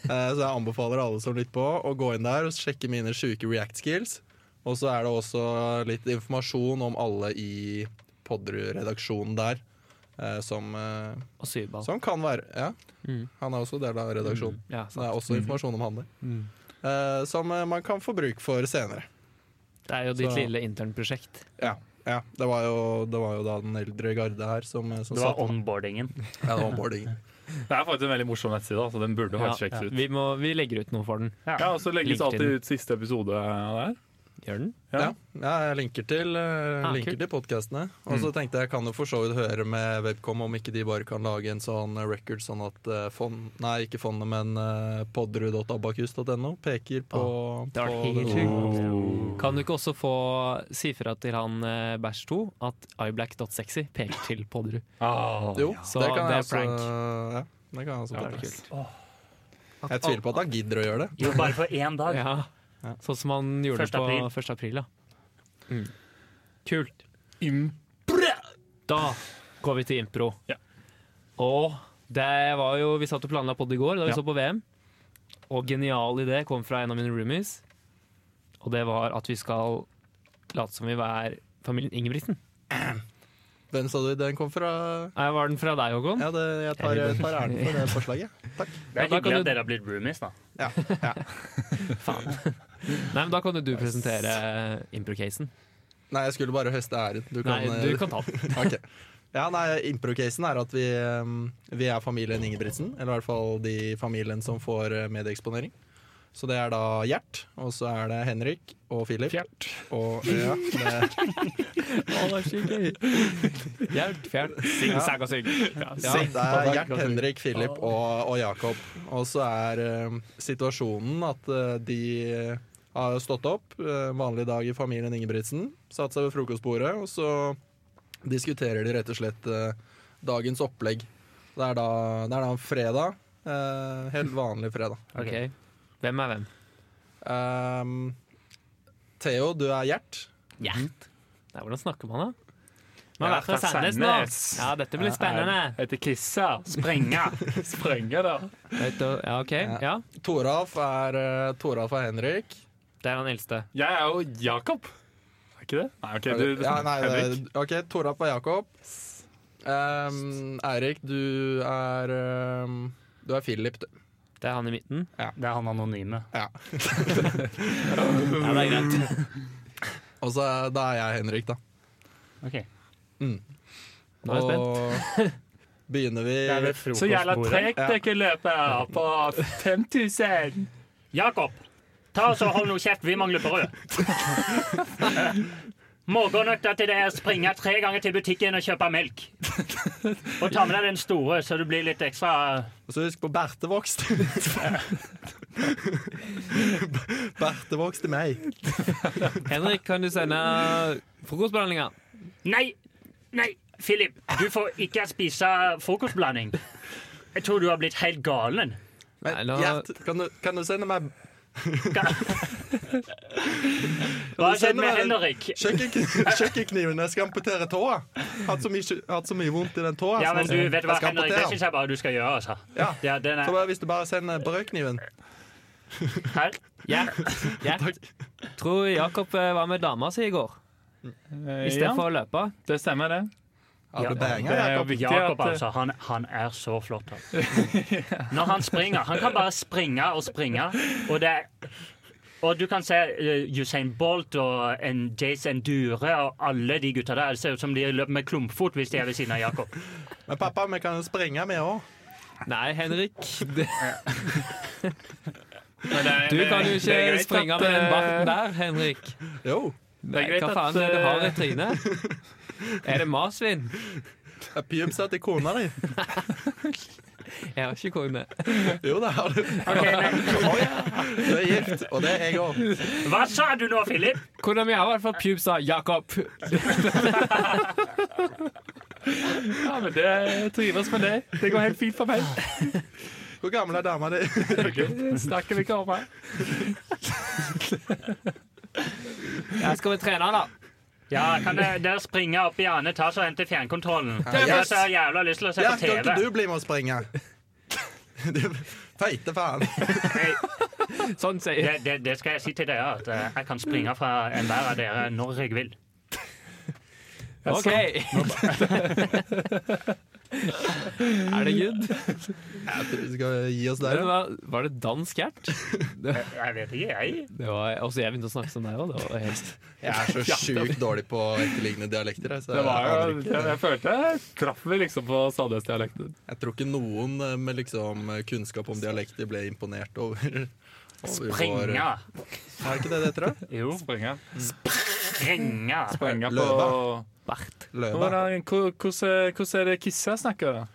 Speaker 4: Eh, Så jeg anbefaler alle som lytter på, å gå inn der og sjekke mine sjuke react skills. Og så er det også litt informasjon om alle i Podderud-redaksjonen der. eh, Som, eh,
Speaker 1: Og syvball.
Speaker 4: som kan være Ja,
Speaker 1: Mm.
Speaker 4: han er også del av redaksjonen.
Speaker 1: Ja,
Speaker 4: Så det er
Speaker 1: sant.
Speaker 4: også informasjon om handel. eh, Som eh, man kan få bruk for senere.
Speaker 1: Det er jo ditt
Speaker 4: Så-
Speaker 1: lille internprosjekt.
Speaker 4: Ja. ja det, var jo, det var jo da den eldre garde her som, som
Speaker 3: Det var
Speaker 4: satte-
Speaker 3: onboardingen.
Speaker 4: Ja, det var onboarding.
Speaker 2: Det er faktisk en veldig morsom nettside, så den burde
Speaker 1: Ja,
Speaker 2: faktisk sjekkes ut.
Speaker 1: vi, må, vi legger ut noe for den.
Speaker 2: Ja, og så legges
Speaker 1: Linker til.
Speaker 2: alltid ut siste episode av det her.
Speaker 1: Gjør den?
Speaker 2: Ja.
Speaker 4: Ja. ja, jeg linker til, eh,
Speaker 1: Ah,
Speaker 4: linker
Speaker 1: kult.
Speaker 4: til podkastene. Og så tenkte jeg kan jo for så vidt høre med Webcom om ikke de bare kan lage en sånn record sånn at eh, fond, Nei, ikke fondet, men eh, podderud.abakus.no peker på,
Speaker 1: Det var
Speaker 4: på
Speaker 1: helt
Speaker 4: det.
Speaker 1: sjukt. Kan du ikke også få si fra til han eh, Bæsj 2 at iblack.sexy peker til Podderud?
Speaker 2: Ah.
Speaker 4: Jo,
Speaker 1: Så
Speaker 4: det kan
Speaker 1: det er
Speaker 4: jeg også
Speaker 1: prank.
Speaker 4: Ja, det kan jeg også
Speaker 2: Ja,
Speaker 4: ta.
Speaker 1: Det er kult.
Speaker 4: Jeg tviler på at han gidder å gjøre det.
Speaker 3: Jo, bare for én dag.
Speaker 1: Ja. Sånn som han gjorde
Speaker 3: Første
Speaker 1: det
Speaker 3: april.
Speaker 1: på 1. april, ja. Mm. Kult.
Speaker 2: Im-
Speaker 1: Da går vi til impro.
Speaker 2: Ja.
Speaker 1: Og det var jo Vi satt og planla podd i går da vi
Speaker 2: Ja.
Speaker 1: så på VM. Og genial idé kom fra en av mine roomies. Og det var at vi skal late som vi er familien Ingebrigtsen.
Speaker 4: Hvem sa du den kom fra?
Speaker 1: Eh, Var den fra deg, Håkon?
Speaker 4: Ja, det, jeg tar, jeg tar æren for det forslaget. Takk.
Speaker 3: Det
Speaker 1: Ja, da
Speaker 3: er
Speaker 1: kan
Speaker 3: hyggelig
Speaker 1: du-
Speaker 3: at dere har blitt roomies, da.
Speaker 4: Ja, ja.
Speaker 1: Faen. Nei, men da kan jo du presentere impro-casen.
Speaker 4: Nei, jeg skulle bare høste æren. Du
Speaker 1: Nei,
Speaker 4: kan, eh,
Speaker 1: du kan ta den.
Speaker 4: Ok. Ja, nei, Impro-casen er at vi, ehm, vi er familien Ingebrigtsen. Eller i hvert fall de familien som får eh, medieeksponering. Så det er da Gjert, og så er det Henrik og Philip.
Speaker 2: Fjert.
Speaker 4: Og ja, det,
Speaker 1: Å, det er så gøy. Gjert, fjert, sing, sag og syng.
Speaker 4: ja, det er Gjert, Henrik, Philip og, og Jakob. Og så er ehm, situasjonen at eh, de har stått opp, eh, vanlig dag i familien Ingebrigtsen, satt seg ved frokostbordet, og så diskuterer de rett og slett eh, dagens opplegg. Det er da, det er da en fredag. eh, helt vanlig fredag.
Speaker 1: Ok. Hvem er hvem?
Speaker 4: Ehm, Theo, du er Gjert.
Speaker 1: Gjert. Nei, hvordan snakker man, da? Man
Speaker 2: Ja,
Speaker 1: er fra
Speaker 2: fra
Speaker 1: Sandnes nå.
Speaker 2: Sandnes.
Speaker 1: Ja, dette blir spennende.
Speaker 2: Heter Kissa. Sprenge. Sprenge, da.
Speaker 1: Vet du- Ja, OK. Ja.
Speaker 4: Toralf er, eh, Toralf er Henrik.
Speaker 1: Det er han eldste.
Speaker 2: Jeg er jo Jakob. Er ikke det? Nei, OK, du, du
Speaker 4: Ja, nei, det-
Speaker 2: Henrik.
Speaker 4: OK, Toralf er Jakob. Ehm, Eirik, du er ehm, Du er Philip, du.
Speaker 1: Det er han i midten.
Speaker 3: Det er han anonyme.
Speaker 4: Ja.
Speaker 1: Ja, det er greit.
Speaker 4: Og så da er jeg Henrik, da.
Speaker 3: Ok.
Speaker 1: Nå er jeg spent.
Speaker 4: Og Begynner vi
Speaker 3: Det er ved
Speaker 2: Så jævla
Speaker 3: frokostbordet.
Speaker 2: tregt det ikke løpet er på 5000.
Speaker 3: Jakob, ta oss og hold nå kjeft, vi mangler brød. Morgenøkta til det er å springe tre ganger til butikken og kjøpe melk. Og ta med deg den store, så du blir litt ekstra
Speaker 4: Og så husk på bertevokst. bertevokst til meg.
Speaker 1: Henrik, kan du sende frokostbehandlinga?
Speaker 3: Nei! Nei, Philip, du får ikke spise frokostblanding. Jeg tror du har blitt helt galen.
Speaker 4: Men,
Speaker 1: Nei, nå-
Speaker 4: Gjert, kan, du, kan du sende meg
Speaker 3: Hva Hva har skjedd
Speaker 4: Send
Speaker 3: med
Speaker 4: meg-
Speaker 3: Henrik?
Speaker 4: kjøkkenkn- kjøkkenkniven? Jeg skal amputere tåa. Hatt så mye, hatt så mye vondt i den tåa.
Speaker 3: Ja,
Speaker 4: så
Speaker 3: men
Speaker 4: nå-
Speaker 3: du vet du
Speaker 4: jeg
Speaker 3: hva,
Speaker 4: skal
Speaker 3: Henrik, det
Speaker 4: amputere
Speaker 3: syns jeg bare du skal gjøre. altså.
Speaker 4: Ja.
Speaker 3: Ja, den
Speaker 4: den. Så
Speaker 3: er
Speaker 4: bare, hvis du bare sender brødkniven
Speaker 3: her.
Speaker 1: Gjert, Gjert. Tror Jakob eh, var med dama si i går, i stedet
Speaker 2: Ja,
Speaker 1: for å løpe.
Speaker 2: det stemmer, det.
Speaker 4: Ja,
Speaker 3: Ja,
Speaker 4: du banger,
Speaker 2: det er jo
Speaker 4: Jakob.
Speaker 2: viktig
Speaker 3: Jakob,
Speaker 4: eh,
Speaker 2: at
Speaker 3: altså. Han, han er så flott. Han. Når han springer Han kan bare springe og springe, og det er og du kan se eh, Usain Bolt og en Jason Dure og alle de gutta der. Det ser ut som de løper med klumpfot hvis de er ved siden av Jakob.
Speaker 4: Men pappa, vi kan jo springe, vi òg.
Speaker 1: Nei, Henrik. Det,
Speaker 2: Men det er-
Speaker 1: du kan jo
Speaker 2: det- det er
Speaker 1: ikke
Speaker 2: greit
Speaker 1: springe
Speaker 2: at,
Speaker 1: med den barten
Speaker 2: eh,
Speaker 1: der, Henrik.
Speaker 4: Jo.
Speaker 1: Nei,
Speaker 2: greit
Speaker 1: Hva
Speaker 2: at,
Speaker 1: faen er det du har i
Speaker 2: eh,
Speaker 1: trynet? Er det marsvin?
Speaker 4: Jeg pjumsa til kona di.
Speaker 1: Jeg har ikke kone.
Speaker 4: Jo, det har du.
Speaker 3: Ok, men
Speaker 4: Du er gift, og det er jeg òg.
Speaker 3: Hva sa du nå, Philip?
Speaker 1: Kona mi har i hvert fall pubes av Jakob.
Speaker 2: eh, Ja, men det jeg trives med det. Det går helt fint for meg.
Speaker 4: Hvor gammel er dama di?
Speaker 2: Snakker vi ikke om her.
Speaker 1: Ja, skal vi trene, da?
Speaker 3: Ja, kan dere, dere springe opp i andre etasje og hente fjernkontrollen? Jeg har så jævla lyst til å se
Speaker 4: Ja,
Speaker 3: på
Speaker 4: kan ikke
Speaker 3: TV.
Speaker 4: du bli med og springe? Du feite faen.
Speaker 3: Jeg,
Speaker 1: Sånn sier
Speaker 3: det, det, det skal jeg si til dere, at eh, jeg kan springe fra enhver av dere når jeg vil.
Speaker 1: OK. Er det good?
Speaker 4: Jeg tror vi skal gi oss
Speaker 1: Vet
Speaker 4: der.
Speaker 1: du hva? Var det dansk hjert?
Speaker 3: Jeg vet ikke, jeg.
Speaker 1: Det var, også jeg begynte å snakke som deg òg. Det var helt
Speaker 4: Jeg er så sjukt dårlig på etterlignende dialekter. jeg, Så
Speaker 2: Det
Speaker 4: jeg,
Speaker 2: var jo,
Speaker 4: aner
Speaker 2: jeg,
Speaker 4: ikke.
Speaker 2: jeg følte traff vi liksom på Sandnes-dialekten.
Speaker 4: jeg tror ikke noen eh, med liksom kunnskap om dialekter ble imponert over, over vår-
Speaker 3: Springe.
Speaker 4: Er ikke det det heter? da?
Speaker 3: Jo.
Speaker 2: Springe.
Speaker 3: Springe.
Speaker 2: Springe på
Speaker 4: Løva.
Speaker 1: bart.
Speaker 4: Løva.
Speaker 2: Hvordan hvor- hvordan- hvordan er det Kisse snakker, da?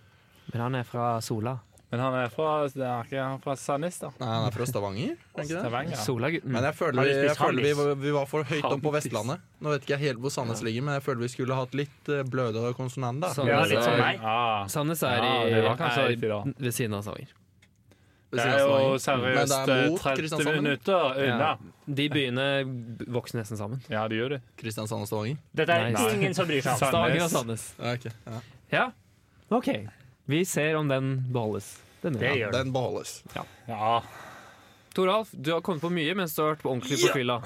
Speaker 1: Men han er fra Sola.
Speaker 2: Men han er fra, det er ikke- han er fra Sandnes, da.
Speaker 4: Nei, han er fra Stavanger. er han ikke det?
Speaker 2: Stavanger.
Speaker 1: Solagutten.
Speaker 4: Men jeg føler,
Speaker 3: Har
Speaker 4: vi,
Speaker 3: du spist
Speaker 4: jeg føler vi,
Speaker 3: Hamdis?
Speaker 4: vi var for høyt opp på
Speaker 2: Hamdis.
Speaker 4: Vestlandet. Nå vet ikke jeg helt hvor Sandnes ligger, men jeg føler vi skulle hatt litt eh, blødere konsonanter.
Speaker 1: Sånn.
Speaker 3: Ja, litt som meg.
Speaker 2: Ja.
Speaker 1: Sandnes er,
Speaker 2: Ja,
Speaker 1: i-
Speaker 2: det var kanskje
Speaker 1: er
Speaker 2: riktig, da.
Speaker 1: ved siden av Stavanger.
Speaker 4: ved
Speaker 2: Det
Speaker 4: siden av
Speaker 2: er jo
Speaker 4: Stavanger. Men
Speaker 2: seriøst
Speaker 4: det er
Speaker 2: eh,
Speaker 4: mot
Speaker 2: 30
Speaker 4: Kristiansand. eller?
Speaker 2: minutter unna.
Speaker 1: De byene b- vokser nesten sammen.
Speaker 2: Ja, det gjør det.
Speaker 4: Kristiansand og Stavanger.
Speaker 3: Dette er
Speaker 1: Nei.
Speaker 3: ingen som bryr seg om.
Speaker 1: Stavanger og Sandnes.
Speaker 4: Ja, ok. ja.
Speaker 1: Ja. OK. Vi ser om den beholdes. Denne
Speaker 3: Det
Speaker 1: gangen.
Speaker 3: gjør det.
Speaker 4: Den beholdes.
Speaker 2: Ja.
Speaker 1: Toralf, du har kommet på mye mens du har vært på ordentlig på fylla.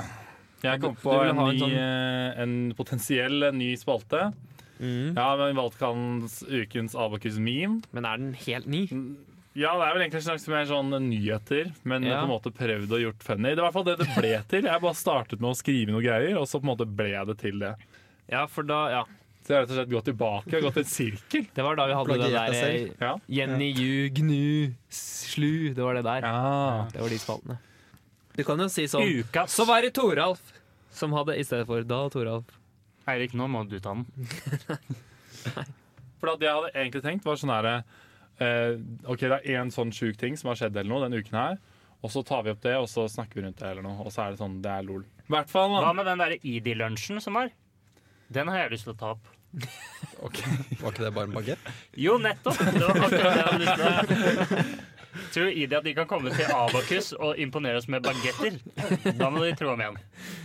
Speaker 2: Jeg kom
Speaker 1: Du-
Speaker 2: på
Speaker 1: du vil
Speaker 2: en,
Speaker 1: ha en
Speaker 2: ny,
Speaker 1: sånn-
Speaker 2: eh, en potensiell ny spalte.
Speaker 1: Mm.
Speaker 2: Ja, men valgte kan ukens Abakus meme.
Speaker 1: Men er den helt ny?
Speaker 2: Ja, det er vel egentlig en slags mer sånn nyheter, men
Speaker 1: Ja.
Speaker 2: på en måte prøvd og gjort funny. Det var i hvert fall det det ble til. Jeg bare startet med å skrive noe greier, og så på en måte ble det til det.
Speaker 1: Ja, for da Ja.
Speaker 2: Så jeg har rett og slett gått tilbake og gått i en sirkel.
Speaker 1: Det var da vi hadde det
Speaker 4: Plagiert
Speaker 1: der
Speaker 4: deg selv.
Speaker 1: eh,
Speaker 2: Ja.
Speaker 1: Jenny Ju, Gnu, Slu. Det var det der.
Speaker 2: Ja.
Speaker 1: Det var de spaltene. Du kan jo si sånn
Speaker 3: Ukas
Speaker 1: Så var det Toralf som hadde i stedet for da Toralf.
Speaker 3: Eirik, nå må du ta den.
Speaker 2: For at det jeg hadde egentlig tenkt var sånn herre eh, OK, det er én sånn sjuk ting som har skjedd eller noe denne uken her, og så tar vi opp det, og så snakker vi rundt det eller noe, og så er det sånn Det er lol. I hvert fall,
Speaker 3: Hva
Speaker 2: da.
Speaker 3: med den derre ID-lunsjen som var? Den har jeg lyst til å ta opp.
Speaker 4: Ok, Var ikke det bare en bagett?
Speaker 3: Jo, nettopp! Det var akkurat det jeg hadde lyst til. Tror ID at de kan komme til Abakus og imponere oss med bagetter? Da må de tro om igjen.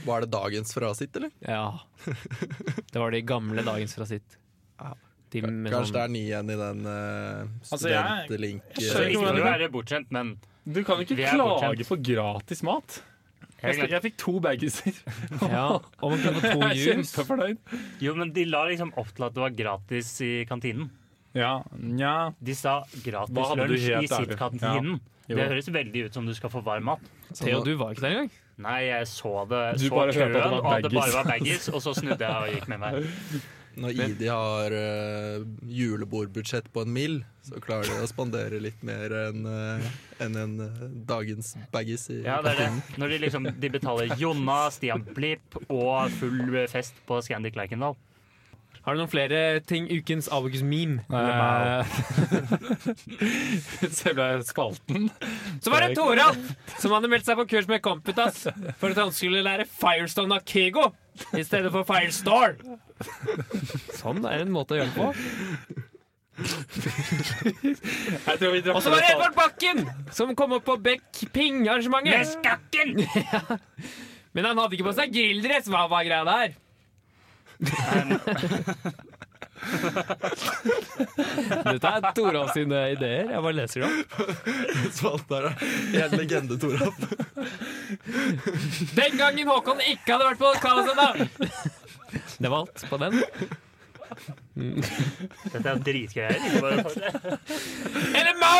Speaker 4: Var det dagens frasitt, eller?
Speaker 1: Ja. Det var de gamle dagens fra sitt.
Speaker 4: Ja.
Speaker 1: De med
Speaker 4: Kanskje det
Speaker 1: sånn
Speaker 4: er ny igjen i den uh,
Speaker 2: Altså, jeg-
Speaker 4: studentlink
Speaker 2: jeg
Speaker 3: Så
Speaker 2: skjønner
Speaker 4: eh,
Speaker 3: ikke for å være bortskjemt, men
Speaker 2: Du kan jo ikke
Speaker 3: Vi er
Speaker 2: klage
Speaker 3: bortskjemt.
Speaker 2: på gratis mat. Jeg,
Speaker 3: Helt
Speaker 2: jeg fikk to baggiser.
Speaker 1: Ja, og man kunne få to
Speaker 2: Jeg er
Speaker 1: juice.
Speaker 2: kjempefornøyd.
Speaker 3: Jo, men de la liksom opp til at det var gratis i kantinen.
Speaker 2: Ja, nja
Speaker 3: De sa gratis
Speaker 2: Hva hadde du
Speaker 3: lunsj
Speaker 2: helt
Speaker 3: i
Speaker 2: ærlig?
Speaker 3: SIT-kantinen.
Speaker 2: Jo.
Speaker 3: Det høres veldig ut som du skal få varm mat.
Speaker 1: Theo, du var ikke der engang.
Speaker 3: Nei, jeg så det
Speaker 2: Du
Speaker 3: så
Speaker 2: bare hørte at det
Speaker 3: køen,
Speaker 2: var
Speaker 3: og at det
Speaker 2: baggies.
Speaker 3: bare var baggies, og så snudde jeg og gikk med meg.
Speaker 4: Når
Speaker 2: Men-
Speaker 4: ID har eh, julebordbudsjett på en mill, så klarer de å spandere litt mer enn eh, enn en eh, dagens baggis i
Speaker 3: Ja, det er det. Når de liksom de betaler Jonna, Stian Blipp og full fest på Scandic Lerkendal.
Speaker 1: Har du noen flere ting? Ukens Abokus-meme.
Speaker 2: Eh, Selve spalten.
Speaker 1: Så var det Toralf som hadde meldt seg på kurs med Computas for at han skulle lære Firestone av Kego i stedet for Firestore. Sånn er en måte å gjøre det på.
Speaker 2: Jeg tror vi
Speaker 1: Og så var
Speaker 2: dropper
Speaker 1: det
Speaker 2: den
Speaker 1: Edvard Bakken som kom opp på Beck
Speaker 3: Med
Speaker 1: Ping-arrangementet.
Speaker 3: skakken!
Speaker 1: Men han hadde ikke på seg grilldress. Hva var greia der? Dette er Toralf sine ideer. Jeg bare leser dem.
Speaker 4: Svalt der, ja. En legende, Toralf.
Speaker 1: Den gangen Håkon ikke hadde vært på Kalasenda! Det var alt på den.
Speaker 3: Dette er dritgreier. ikke bare for det.
Speaker 1: Eller Mo!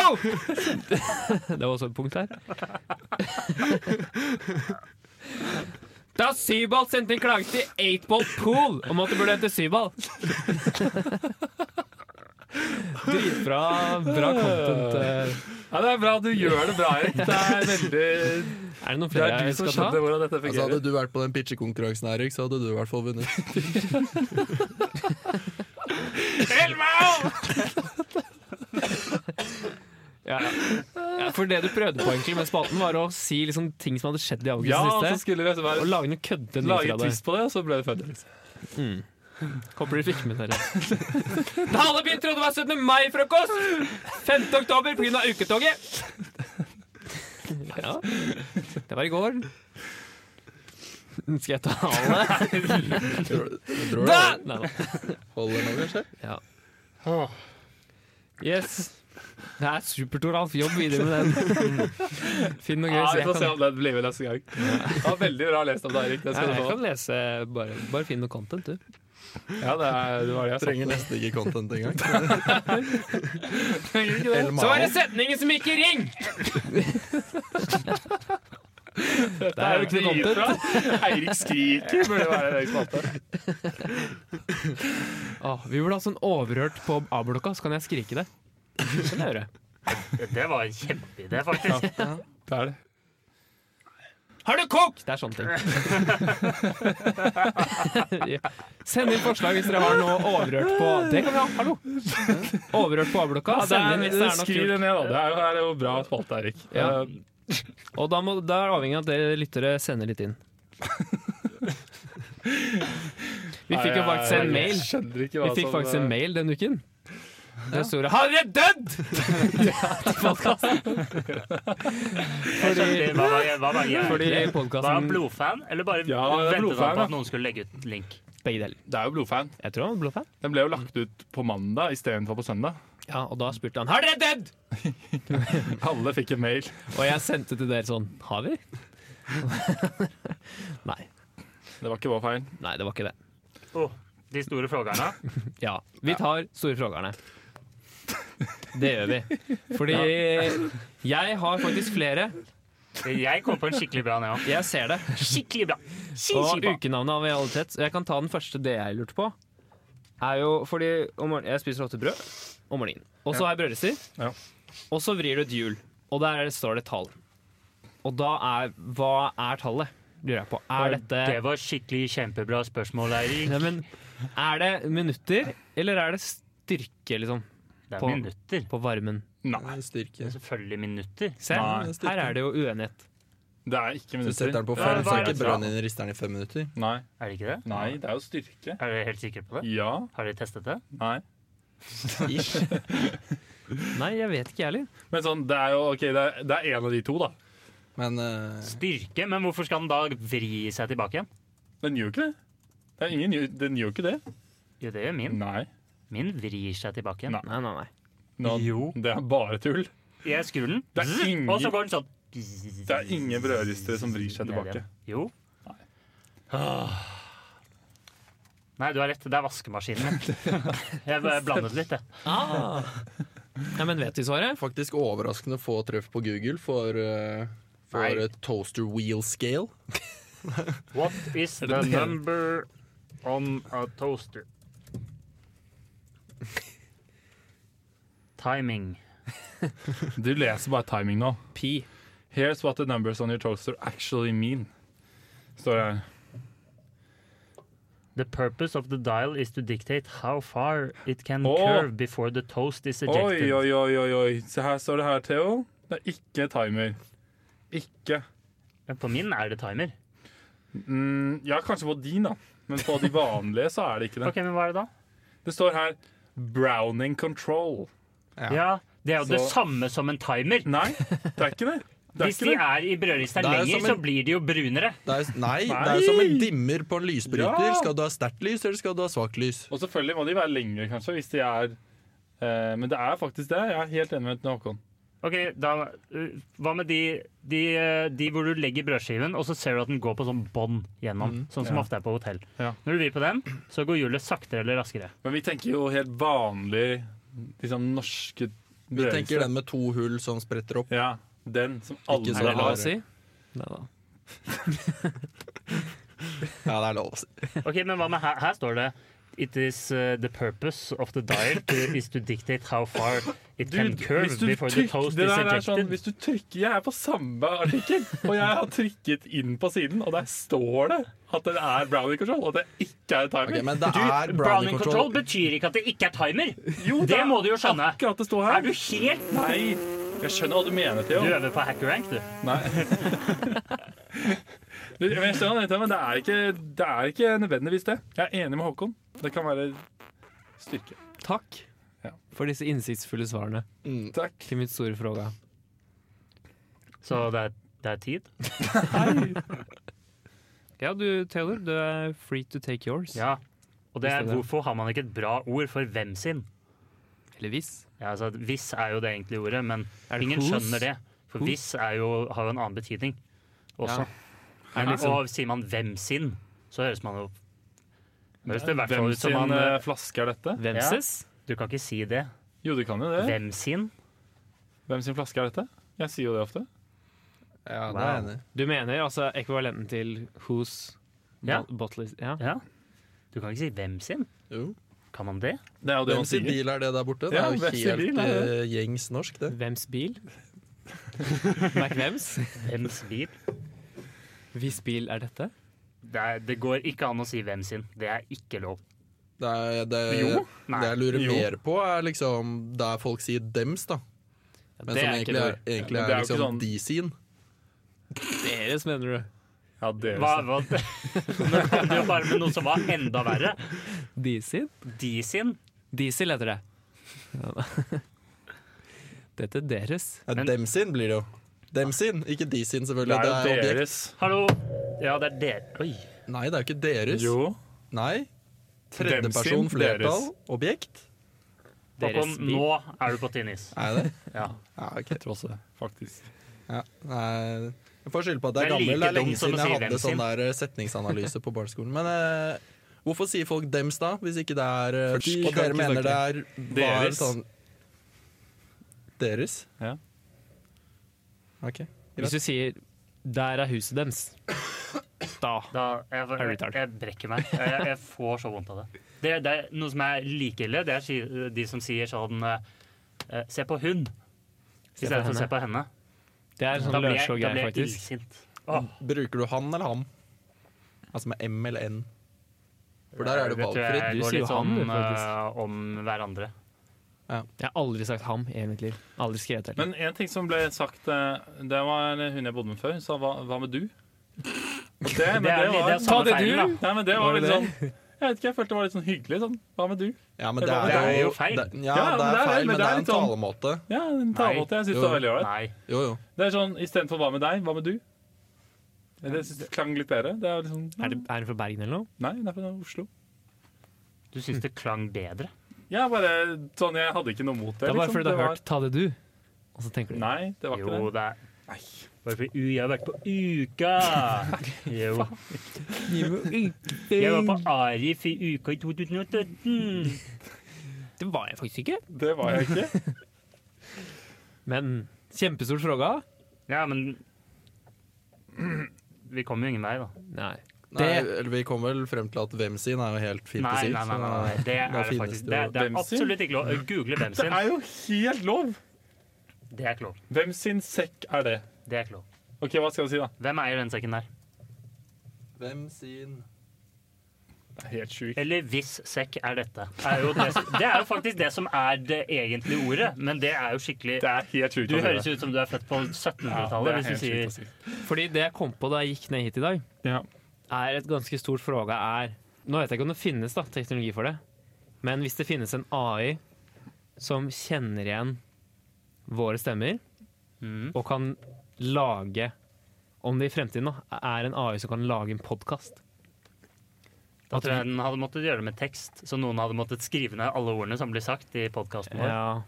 Speaker 1: Det var også et punkt her. Da Syball sendte en klage til 8-ball Pool om at det burde hete Syball. Dritbra bra content. eh.
Speaker 2: Ja, det er bra. Du gjør det bra, Erik. Det er veldig
Speaker 1: Er det noen
Speaker 2: Det
Speaker 1: flere
Speaker 2: er
Speaker 1: jeg
Speaker 2: du som
Speaker 1: skal ta?
Speaker 2: skjønner hvordan dette
Speaker 4: Altså, hadde
Speaker 2: fungerer.
Speaker 4: du vært på den pitchekonkurransen, Erik, så hadde du i hvert fall vunnet.
Speaker 1: Ja. Ja, for det du prøvde på egentlig med spalten, var å si liksom ting som hadde skjedd i august
Speaker 2: Ja, og så
Speaker 1: siste.
Speaker 2: skulle det
Speaker 1: Og
Speaker 2: være
Speaker 1: altså, lage noen køddete nyheter
Speaker 2: Lage
Speaker 1: av det.
Speaker 2: twist på det, og så ble det liksom. Fødelix.
Speaker 1: Håper dere fikk med dere. Da alle begynte trodde det var 17. mai-frokost! 5. oktober pga. uketoget. Ja. Det var i går. Skal jeg ta alle?
Speaker 4: Jeg tror jeg tror
Speaker 1: Da!
Speaker 4: det
Speaker 1: Nei da.
Speaker 4: holder nå, kanskje?
Speaker 1: Ja. Yes. Det er supert, Toralf. Jobb videre med den. Finn noe gøy.
Speaker 2: Ja,
Speaker 1: så
Speaker 2: vi
Speaker 1: jeg
Speaker 2: får se
Speaker 1: kan,
Speaker 2: om den blir med neste gang. Det var veldig bra lest om deg, Erik.
Speaker 1: ja,
Speaker 2: Det skal du
Speaker 1: jeg
Speaker 2: få.
Speaker 1: kan lese bare, bare finn noe content, du.
Speaker 2: Ja, det, er, det var det jeg sa.
Speaker 4: Trenger nesten ikke content engang. El
Speaker 1: Så
Speaker 4: Mao.
Speaker 1: var det setningen som gikk i ring!
Speaker 2: Det
Speaker 1: Det
Speaker 2: er jo
Speaker 1: er jo
Speaker 2: dritbra. Eirik skriker, burde være en egen spalte.
Speaker 1: Åh, vi burde ha sånn overhørt på A-blokka, så kan jeg skrike det. Sånn Det kan jeg gjøre.
Speaker 3: Det var en kjempeidé, faktisk.
Speaker 2: Det er det.
Speaker 1: Har du kokt?! Det er sånne ting. ja. Send inn forslag hvis dere har noe overrørt på Det kan vi ha, hallo! Overrørt på A-blokka.
Speaker 2: Ja,
Speaker 1: Send inn
Speaker 2: det
Speaker 1: hvis det
Speaker 2: er,
Speaker 1: er noe
Speaker 2: skriv
Speaker 1: kult.
Speaker 2: det ned, da. Det er jo, det er jo bra spalte, Eirik.
Speaker 1: Ja.
Speaker 2: Eh,
Speaker 1: Og da, må, da er det avhengig av at dere lyttere sender litt inn. Vi fikk jo
Speaker 2: jeg-
Speaker 1: faktisk en
Speaker 2: jeg
Speaker 1: mail.
Speaker 2: skjønner ikke
Speaker 1: Vi
Speaker 2: hva
Speaker 1: fikk
Speaker 2: som,
Speaker 1: faktisk en
Speaker 2: eh,
Speaker 1: mail den uken. Det sto det 'Har dere dødd?!' til podkasten.
Speaker 3: Jeg skjønte hva var, hva var greia?
Speaker 1: Fordi
Speaker 3: Var han
Speaker 1: podkasten
Speaker 3: blodfan, eller bare
Speaker 2: Ja, han er
Speaker 3: ventet
Speaker 2: blodfan,
Speaker 3: han på
Speaker 2: da.
Speaker 3: at noen skulle legge ut en link?
Speaker 1: Begge deler.
Speaker 2: Det er jo blodfan.
Speaker 1: Jeg tror han var blodfan.
Speaker 2: Den ble jo lagt ut på mandag istedenfor på søndag.
Speaker 1: Ja, og da spurte han 'Har dere dødd?'
Speaker 2: Alle fikk en mail.
Speaker 1: Og jeg sendte til dere sånn 'Har vi?' nei,
Speaker 2: Det var ikke vår feil.
Speaker 1: nei, det var ikke det.
Speaker 3: Åh, de store frågerne.
Speaker 1: Ja, Vi tar store frågerne. Det gjør vi. Fordi jeg har faktisk flere.
Speaker 3: Jeg kom på en skikkelig bra nå.
Speaker 1: Jeg ser det.
Speaker 3: Skikkelig bra. Skikkelig
Speaker 1: Og
Speaker 3: bra.
Speaker 1: ukenavnet av realitet. Jeg kan ta den første det jeg lurte på. Er jo fordi om morgenen, Jeg spiser ofte brød om morgenen. Og så har jeg brødrister.
Speaker 2: Ja.
Speaker 1: Og så vrir du et hjul, og der står det et tall. Og da er Hva er tallet? Lurer jeg på. Er dette
Speaker 3: Det var skikkelig kjempebra spørsmål, Eirik.
Speaker 1: Nei, men er det minutter, eller er det styrke, liksom,
Speaker 3: Det er
Speaker 1: på-
Speaker 3: minutter.
Speaker 1: på varmen?
Speaker 2: Nei,
Speaker 4: Styrke.
Speaker 3: Selvfølgelig minutter.
Speaker 1: Se,
Speaker 2: Nei,
Speaker 4: styrke.
Speaker 1: her er det jo uenighet.
Speaker 2: det er ikke
Speaker 4: Du setter
Speaker 2: minutter.
Speaker 4: den på
Speaker 3: Ja,
Speaker 4: fem, så
Speaker 3: hva er
Speaker 4: er ikke
Speaker 3: det?
Speaker 4: brønnen din i risteren i fem minutter.
Speaker 2: Nei.
Speaker 3: Er det ikke det?
Speaker 2: Nei, det er jo styrke.
Speaker 3: Er dere helt sikre på det?
Speaker 2: Ja.
Speaker 3: Har dere testet det?
Speaker 2: Nei.
Speaker 4: Ish.
Speaker 1: Nei, jeg vet ikke, jeg heller.
Speaker 2: Men sånn, det er jo OK, det er, det er en av de to, da.
Speaker 4: Men eh,
Speaker 3: Styrke, men hvorfor skal den da vri seg tilbake igjen?
Speaker 2: Den gjør jo ikke det. det er ingen, den gjør jo ikke det.
Speaker 3: Jo, det gjør min.
Speaker 2: Nei.
Speaker 3: Min vrir seg tilbake igjen.
Speaker 2: Nei.
Speaker 1: Nei, nei, nei.
Speaker 2: Nå,
Speaker 3: Jo.
Speaker 2: Det er bare tull.
Speaker 3: Jeg skrur den,
Speaker 2: Det er ingen-
Speaker 3: og så går den sånn.
Speaker 2: Det er ingen brødristere som vrir seg
Speaker 3: Ned igjen.
Speaker 2: tilbake.
Speaker 3: Jo. Ah. Nei, du har rett. Det er vaskemaskinen min. Jeg bare blandet litt, jeg.
Speaker 1: Ah. Ja, men vet vi svaret?
Speaker 4: faktisk overraskende få treff på Google for, eh, for
Speaker 3: Nei.
Speaker 4: eh, toaster wheel scale.
Speaker 3: What is the number on a toaster? Timing.
Speaker 2: Du leser bare timing nå.
Speaker 1: Pi.
Speaker 2: Here's what the numbers on your toaster actually mean. Står det her.
Speaker 3: The purpose of the dial is to dictate how far it can
Speaker 2: Åh.
Speaker 3: curve before the toast is ejected.
Speaker 2: Oi, oi, oi, oi, oi. Se her står det her, Theo. Det er ikke timer. Ikke.
Speaker 3: Men På min er det timer.
Speaker 2: Mm, ja, kanskje på din, da. Men på de vanlige så er det ikke det.
Speaker 3: Ok, men hva er det da?
Speaker 2: Det står her Browning control.
Speaker 4: Ja.
Speaker 3: Ja, Det er jo
Speaker 2: Så-
Speaker 3: det samme som en timer.
Speaker 2: Nei, det er ikke det. Det er
Speaker 3: Hvis de
Speaker 2: ikke det.
Speaker 3: er i brødristeren
Speaker 4: Det er jo
Speaker 3: lenger,
Speaker 4: som en-
Speaker 3: så blir de jo brunere.
Speaker 4: Det er, jo- nei, det er jo som en dimmer på en lysbryter.
Speaker 2: Ja.
Speaker 4: Skal du ha sterkt lys, eller skal du ha svakt lys?
Speaker 2: Og selvfølgelig må de være lengre, kanskje, hvis de er eh, Men det er faktisk det. Jeg er helt enig med Håkon.
Speaker 3: Ok, da, uh, Hva med de, de, uh, de hvor du legger brødskiven, og så ser du at den går på sånn bånd gjennom. sånn som
Speaker 2: Mm. ja.
Speaker 3: ofte er på hotell.
Speaker 2: Ja.
Speaker 3: Når du vrir på den, så går hjulet saktere eller raskere.
Speaker 2: Men vi tenker jo helt vanlig liksom norske
Speaker 4: Vi tenker den med to hull som spretter opp.
Speaker 2: Ja, den som alle
Speaker 4: Ikke så
Speaker 1: Er det
Speaker 2: har.
Speaker 1: lov
Speaker 4: har-
Speaker 1: å si? Nei da.
Speaker 4: Ja, det er lov å si.
Speaker 3: Ok, men hva med her? Her står det It is uh, the purpose of the dial to, is to dictate how far it
Speaker 2: Du,
Speaker 3: can curve
Speaker 2: hvis du
Speaker 3: before the
Speaker 2: trykker
Speaker 3: toast
Speaker 2: det
Speaker 3: is
Speaker 2: der er
Speaker 3: ejected.
Speaker 2: sånn, Hvis du trykker Jeg er på samme artikkel, og jeg har trykket inn på siden, og der står det at det er brownie control, og at det ikke er timer.
Speaker 4: Ok, men det
Speaker 3: Du,
Speaker 4: er
Speaker 3: Browning control betyr ikke at det ikke er timer!
Speaker 2: jo,
Speaker 3: det må du jo skjønne.
Speaker 2: Akkurat det står
Speaker 3: Er
Speaker 2: her.
Speaker 3: du helt
Speaker 2: Nei, jeg skjønner hva du mener,
Speaker 3: Du
Speaker 2: Theo.
Speaker 3: øver på hacker rank, du.
Speaker 2: Nei. Men jeg skjønner hva du mener, men det er, ikke, det er ikke nødvendigvis det. Jeg er enig med Håkon. Det kan være styrke.
Speaker 1: Takk
Speaker 2: Ja.
Speaker 1: for disse innsiktsfulle svarene
Speaker 4: Mm.
Speaker 2: Takk.
Speaker 1: til mitt store fråga.
Speaker 3: Så det er, det er tid?
Speaker 1: Ja, du Taylor, du er free to take yours.
Speaker 3: Ja. Og det
Speaker 1: Hvis det
Speaker 3: er
Speaker 1: er det.
Speaker 3: hvorfor har man ikke et bra ord for hvem sin?
Speaker 1: Eller hvis.
Speaker 3: Ja, altså, hvis er jo det egentlige ordet, men
Speaker 1: Er det
Speaker 3: ingen
Speaker 1: whose?
Speaker 3: skjønner det. For
Speaker 1: Who?
Speaker 3: hvis er jo, har jo en annen betydning også.
Speaker 1: Ja. Er det liksom,
Speaker 3: Og sier man hvem sin, så høres man jo Høres det i hvert fall
Speaker 2: Hvem
Speaker 3: ut som
Speaker 2: sin
Speaker 3: man
Speaker 2: eh,
Speaker 3: eh,
Speaker 2: flaske er dette?
Speaker 1: Hvemses?
Speaker 3: Du kan ikke si det.
Speaker 2: Jo, du kan jo det.
Speaker 3: Hvem sin?
Speaker 2: Hvem sin flaske er dette? Jeg sier jo det ofte.
Speaker 4: Ja, det er jeg
Speaker 3: Wow.
Speaker 4: enig. i.
Speaker 1: Du mener altså ekvivalenten til whose
Speaker 3: Ja.
Speaker 1: bo- bottle is- ja.
Speaker 3: Ja. Du kan ikke si hvem sin.
Speaker 4: Jo.
Speaker 3: Kan man det?
Speaker 2: Det er jo det
Speaker 4: Hvem
Speaker 2: man
Speaker 4: sin
Speaker 2: sier.
Speaker 4: bil er det der borte? Det
Speaker 2: Ja,
Speaker 4: er jo
Speaker 2: hvem sin
Speaker 4: helt
Speaker 2: bil er det?
Speaker 4: eh, gjengs norsk, det.
Speaker 1: Hvems bil? McVems?
Speaker 3: Hvems bil?
Speaker 1: Hvis bil er dette?
Speaker 3: Det, er, det går ikke an å si hvem sin. Det er ikke lov.
Speaker 4: Det, er, det,
Speaker 2: Jo.
Speaker 3: Nei.
Speaker 4: det jeg lurer
Speaker 2: Jo.
Speaker 4: mer på, er liksom der folk sier dems, da.
Speaker 1: Ja,
Speaker 4: Men
Speaker 1: det
Speaker 4: som
Speaker 1: er ikke
Speaker 4: egentlig
Speaker 1: det.
Speaker 4: er, egentlig
Speaker 2: Men
Speaker 4: er,
Speaker 2: det er jo ikke
Speaker 4: liksom
Speaker 2: sånn-
Speaker 4: de sin.
Speaker 1: Deres, mener du?
Speaker 2: Ja, det er
Speaker 3: Hva,
Speaker 2: sant.
Speaker 3: hva? Nå kom du jo bare med noe som var enda verre.
Speaker 1: De sin?
Speaker 3: De sin.
Speaker 1: Diesel heter det. Ja. Dette er deres.
Speaker 4: Ja,
Speaker 3: Men-
Speaker 4: dem sin blir det jo. Dem sin, ikke de sin,
Speaker 2: Det
Speaker 4: selvfølgelig.
Speaker 2: er jo
Speaker 4: objekt.
Speaker 2: deres.
Speaker 3: Hallo. Ja, det er dere Oi.
Speaker 4: Nei, det er jo ikke deres.
Speaker 2: Jo.
Speaker 4: Nei.
Speaker 2: Dem
Speaker 4: Tredjeperson,
Speaker 2: sin,
Speaker 4: flertall,
Speaker 2: deres.
Speaker 4: objekt.
Speaker 1: Deres
Speaker 3: Håkon,
Speaker 1: bil.
Speaker 3: nå er du på tynn is.
Speaker 4: Er det?
Speaker 3: Ja.
Speaker 4: Ja, ok.
Speaker 2: Trosse, faktisk.
Speaker 4: Ja. Nei, jeg får skylde på at det
Speaker 3: Det
Speaker 4: er
Speaker 3: er
Speaker 4: gammel.
Speaker 3: like
Speaker 4: Det er
Speaker 3: dumt
Speaker 4: lenge
Speaker 3: som å
Speaker 4: siden
Speaker 3: si
Speaker 4: jeg
Speaker 3: dem
Speaker 4: hadde
Speaker 3: sin.
Speaker 4: sånn der eh, setningsanalyse på barneskolen. Men eh, hvorfor sier folk dems da, hvis ikke det er eh,
Speaker 2: Fordi
Speaker 4: Og
Speaker 2: kan
Speaker 4: dere
Speaker 2: ikke
Speaker 4: mener det er hva er
Speaker 2: Deres.
Speaker 4: sånn Deres?
Speaker 2: Ja.
Speaker 4: OK.
Speaker 1: Hvis du sier 'der er huset dems', da
Speaker 3: Da, jeg,
Speaker 1: Er du
Speaker 3: jeg,
Speaker 1: retard?
Speaker 3: jeg brekker meg. Jeg, jeg får så vondt av det. det. Det er noe som er like ille. Det er si- de som sier sånn eh, Se på hun, i
Speaker 1: Se på
Speaker 3: stedet for å
Speaker 1: henne.
Speaker 3: se på henne.
Speaker 1: Det er
Speaker 3: Da
Speaker 1: sånn
Speaker 3: blir jeg, da
Speaker 1: lørshow-greier,
Speaker 3: blir jeg
Speaker 1: faktisk.
Speaker 3: illsint. Åh,
Speaker 4: Bruker du han eller ham? Altså med M eller N? For der er det
Speaker 3: det tror
Speaker 4: valgfritt.
Speaker 3: jeg
Speaker 1: Du
Speaker 3: går
Speaker 1: sier
Speaker 3: litt
Speaker 1: jo han,
Speaker 3: sånn
Speaker 1: du, faktisk.
Speaker 3: eh, om hverandre.
Speaker 1: Jeg har aldri sagt 'ham' i hele mitt liv. Aldri skrevet heller.
Speaker 2: Men en ting som ble sagt eh, Det var hun jeg bodde med før. Hun sa 'hva, hva med du'? Det, men
Speaker 3: Det er-
Speaker 2: det var,
Speaker 3: det er samme feil, da.
Speaker 2: Nei, men det
Speaker 1: Var
Speaker 2: var,
Speaker 1: det
Speaker 2: litt
Speaker 1: det?
Speaker 2: sånn Jeg vet ikke, jeg følte det var litt sånn hyggelig. Sånn, hva med du?
Speaker 4: Ja, men
Speaker 2: Det
Speaker 4: det er,
Speaker 3: er jo
Speaker 4: jo
Speaker 3: feil.
Speaker 4: Det, ja,
Speaker 2: Ja, men
Speaker 4: det
Speaker 2: det
Speaker 4: er
Speaker 2: er det,
Speaker 4: feil,
Speaker 2: men
Speaker 4: men det er en
Speaker 2: litt sånn-
Speaker 4: talemåte.
Speaker 2: Ja, den talemåten jeg synes det var veldig ålreit.
Speaker 3: Nei.
Speaker 4: Jo, jo.
Speaker 2: Det er sånn istedenfor 'hva med deg', 'hva med du'? Det synes jeg klang litt bedre. Det er liksom
Speaker 1: Er, det, er hun fra Bergen eller noe?
Speaker 2: Nei, det er fra Oslo.
Speaker 3: Du syns det klang bedre?
Speaker 2: Ja, bare sånn Jeg hadde ikke noe mot det.
Speaker 1: Det er bare
Speaker 2: liksom.
Speaker 1: fordi du
Speaker 2: Det
Speaker 1: har
Speaker 2: var-
Speaker 1: hørt 'ta det du', og så tenker du
Speaker 2: Nei, det var ikke
Speaker 3: Jo,
Speaker 2: det.
Speaker 3: det er Bare fordi u, jeg har vært på Uka! Jo. Jeg var på Arif i Uka i 2017.
Speaker 1: Det var jeg faktisk ikke.
Speaker 2: Det var jeg ikke.
Speaker 1: Men kjempestort fråga.
Speaker 3: Ja, men Vi kommer jo ingen vei, da.
Speaker 1: Nei.
Speaker 4: Nei,
Speaker 1: Det-
Speaker 4: eller vi kom vel frem til at hvem sin er jo helt fint å
Speaker 3: Nei,
Speaker 4: si.
Speaker 3: nei, nei, nei, nei.
Speaker 4: så
Speaker 3: det er det
Speaker 4: finnes
Speaker 3: faktisk
Speaker 4: jo-
Speaker 3: Det, det er
Speaker 2: Hvem sin?
Speaker 3: absolutt ikke lov. Google hvem
Speaker 2: Det
Speaker 3: sin.
Speaker 2: er jo helt lov!
Speaker 3: Det er ikke lov.
Speaker 2: Hvem sin sekk er det?
Speaker 3: Det er ikke lov.
Speaker 2: Ok, hva skal jeg si, da?
Speaker 3: Hvem eier den sekken der?
Speaker 4: Hvem sin
Speaker 2: Det er helt sjukt.
Speaker 3: Eller hvis sekk er dette. Er jo det, det er jo faktisk det som er det egentlige ordet, men det er jo skikkelig
Speaker 2: Det er helt sjukt
Speaker 3: Du
Speaker 2: å si
Speaker 3: høres
Speaker 2: det.
Speaker 3: ut som du er født på
Speaker 2: Ja, det
Speaker 3: 1700-tallet
Speaker 2: er
Speaker 3: hvis
Speaker 2: helt
Speaker 3: du sier
Speaker 2: sjukt å si.
Speaker 1: Fordi det jeg kom på da jeg gikk ned hit i dag,
Speaker 2: Ja.
Speaker 1: er et ganske stort fråga er Nå vet jeg ikke om det finnes da, teknologi for det, men hvis det finnes en AI som kjenner igjen våre stemmer,
Speaker 3: Mm.
Speaker 1: og kan lage Om det i fremtiden da, er en AI som kan lage en podkast
Speaker 3: Da tror jeg den hadde måttet gjøre det med tekst, så noen hadde måttet skrive ned alle ordene som blir sagt i podkasten vår.
Speaker 1: ja.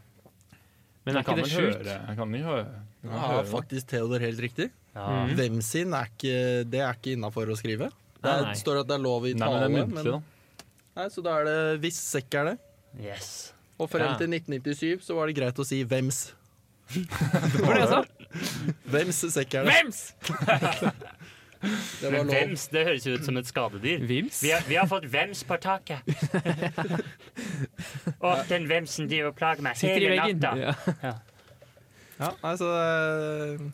Speaker 1: Men er
Speaker 2: Jeg
Speaker 1: ikke
Speaker 2: kan
Speaker 1: det
Speaker 2: vel
Speaker 1: sjukt?
Speaker 2: høre. Jeg kan jo høre. Jeg kan
Speaker 4: Ja,
Speaker 2: høre.
Speaker 4: faktisk Theodor helt riktig.
Speaker 3: Ja.
Speaker 1: Mm.
Speaker 4: Hvem sin er ikke Det er ikke innafor å skrive. Det
Speaker 1: Nei,
Speaker 4: er,
Speaker 1: nei.
Speaker 4: står at det er lov i
Speaker 2: Nei, men det
Speaker 4: tale,
Speaker 2: er
Speaker 4: men,
Speaker 2: muntlig, da.
Speaker 4: nei, så da er det hvis sekk er det.
Speaker 3: Yes.
Speaker 4: Og frem
Speaker 1: Ja.
Speaker 4: til 1997 så var det greit å si hvems.
Speaker 1: Hva var det jeg sa?
Speaker 4: Hvems sekk er det.
Speaker 1: Vems!
Speaker 4: Det var
Speaker 3: Men
Speaker 4: lov.
Speaker 3: vems, det høres jo ut som et skadedyr.
Speaker 1: Vims?
Speaker 3: Vi har, vi har fått vems på taket. Og den vemsen driver og plager meg
Speaker 1: Sitter i
Speaker 3: hele
Speaker 1: veggen.
Speaker 3: natta.
Speaker 1: Ja.
Speaker 4: Ja, nei, så eh,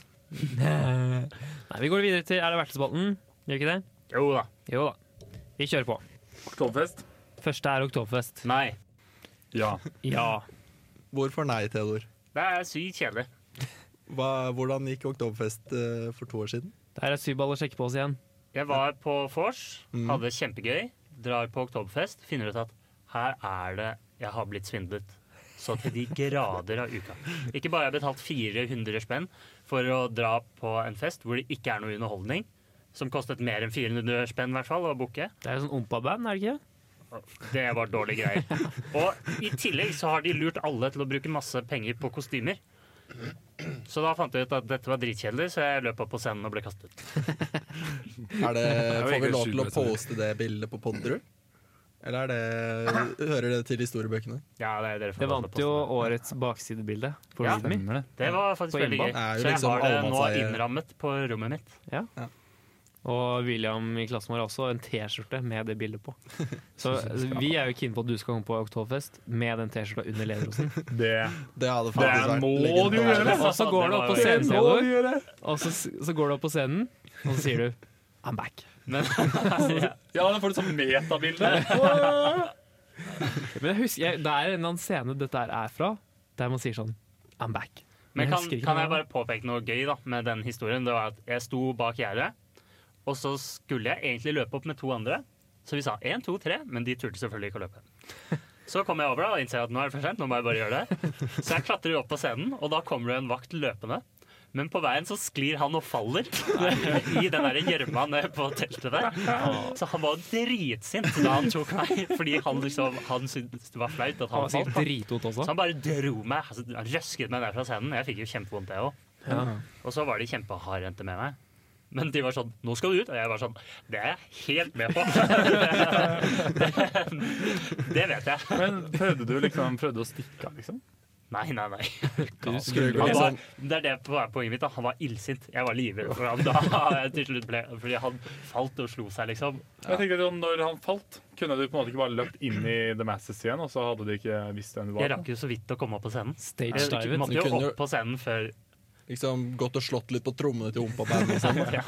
Speaker 4: det er-
Speaker 1: Nei, vi går videre til Er det verktøyspalten? Gjør vi ikke det?
Speaker 3: Jo da.
Speaker 1: Jo da. Vi kjører på.
Speaker 2: Oktoberfest?
Speaker 1: Første er Oktoberfest.
Speaker 3: Nei.
Speaker 2: Ja.
Speaker 1: Ja.
Speaker 4: Hvorfor nei, Theodor?
Speaker 3: Det er sykt kjedelig.
Speaker 4: Hva, hvordan gikk Oktoberfest eh, for to år siden?
Speaker 1: Der er syvball å sjekke på oss igjen.
Speaker 3: Jeg var på vors,
Speaker 1: Mm.
Speaker 3: hadde det kjempegøy, drar på oktoberfest, finner ut at her er det jeg har blitt svindlet. Så til de grader av uka. Ikke bare har jeg betalt 400 spenn for å dra på en fest hvor det ikke er noe underholdning, som kostet mer enn 400 spenn i hvert fall å booke.
Speaker 1: Det er jo sånn ompa-band, er det ikke? det?
Speaker 3: Det var dårlige greier. Og i tillegg så har de lurt alle til å bruke masse penger på kostymer. Så da fant jeg ut at dette var dritkjedelig, så jeg løp opp på scenen og ble kastet ut.
Speaker 4: Er det,
Speaker 2: jo
Speaker 4: får vi lov
Speaker 2: ikke
Speaker 4: til å
Speaker 2: supermessig.
Speaker 4: poste det bildet på Podderud? Eller er det, hører det til historiebøkene?
Speaker 3: Ja, det, dere får
Speaker 1: Det
Speaker 3: holde
Speaker 1: vant
Speaker 3: på
Speaker 1: jo
Speaker 3: sånn.
Speaker 1: årets baksidebilde på
Speaker 3: Ja.
Speaker 1: Readme.
Speaker 2: Stemmer det.
Speaker 3: Det var faktisk
Speaker 1: På
Speaker 3: veldig gøy.
Speaker 1: innball.
Speaker 4: Det er jo
Speaker 3: Så jeg
Speaker 4: liksom
Speaker 3: har det nå
Speaker 4: allemannseie.
Speaker 3: innrammet på rommet mitt.
Speaker 1: Og William i klassen vår har også en T-skjorte med det bildet på. Så altså, vi er jo keen på at du skal komme på Oktoberfest med den T-skjorta under lederosen.
Speaker 2: Det,
Speaker 4: Det hadde
Speaker 2: Det
Speaker 4: faktisk vært
Speaker 2: må du
Speaker 4: legendarisk.
Speaker 1: Og
Speaker 2: gjøre!
Speaker 1: så altså, går du opp på scenen,
Speaker 2: må du
Speaker 1: Theodor,
Speaker 2: gjøre!
Speaker 1: og så, så går du opp på scenen, og så sier du I'm back.
Speaker 2: Ja, da får du sånn metabilde.
Speaker 1: Men jeg husker, jeg, det er en eller annen scene dette her er fra, der man sier sånn I'm back.
Speaker 3: Men kan,
Speaker 1: husker ikke
Speaker 3: kan jeg
Speaker 1: hva
Speaker 3: bare påpeke noe gøy da, med den historien? Det var at jeg sto bak gjerdet, og så skulle jeg egentlig løpe opp med to andre. Så vi sa én, to, tre, men de turte selvfølgelig ikke å løpe. Så kom jeg over da, og innså at nå er det for sent. nå må jeg bare gjøre det. Så jeg klatrer jo opp på scenen, og da kommer det en vakt løpende. Men på veien så sklir han og faller i den der gjørma nede på teltet der. Så han var dritsint da han tok meg, fordi han, liksom, han syntes det var flaut at
Speaker 1: Han
Speaker 3: han
Speaker 1: var sikkert
Speaker 3: falt. da.
Speaker 1: dritvondt også.
Speaker 3: Så han bare dro meg, altså, han røsket meg ned fra scenen. Jeg fikk jo kjempevondt, jeg òg.
Speaker 1: Ja.
Speaker 3: Og så var de kjempehardhendte med meg. Men de var sånn 'Nå skal du ut.' Og jeg var sånn 'Det er jeg helt med på'. det, det vet jeg.
Speaker 2: Men prøvde du liksom prøvde å stikke av, liksom?
Speaker 3: Nei, nei, nei.
Speaker 1: Du
Speaker 4: Skulle
Speaker 1: skulle
Speaker 4: gå
Speaker 3: Han
Speaker 4: litt
Speaker 3: var,
Speaker 4: sånn-
Speaker 3: det er det som er poenget mitt. da Han var illsint. Jeg var livredd for ham da. Til slutt ble, fordi han falt og slo seg, liksom.
Speaker 2: Jeg tenkte sånn, Når han falt, kunne du på en måte ikke bare løpt inn i The Masses igjen, og så hadde de ikke visst hvem du
Speaker 3: Jeg
Speaker 2: var?
Speaker 3: rakk jo så vidt å komme opp på scenen.
Speaker 1: stage
Speaker 3: Jeg
Speaker 1: dive.
Speaker 3: måtte
Speaker 4: Du
Speaker 3: jo
Speaker 4: kunne jo-
Speaker 3: opp på scenen før
Speaker 4: Liksom gått og slått litt på trommene til Ompa-bandet og sånn.
Speaker 3: ja,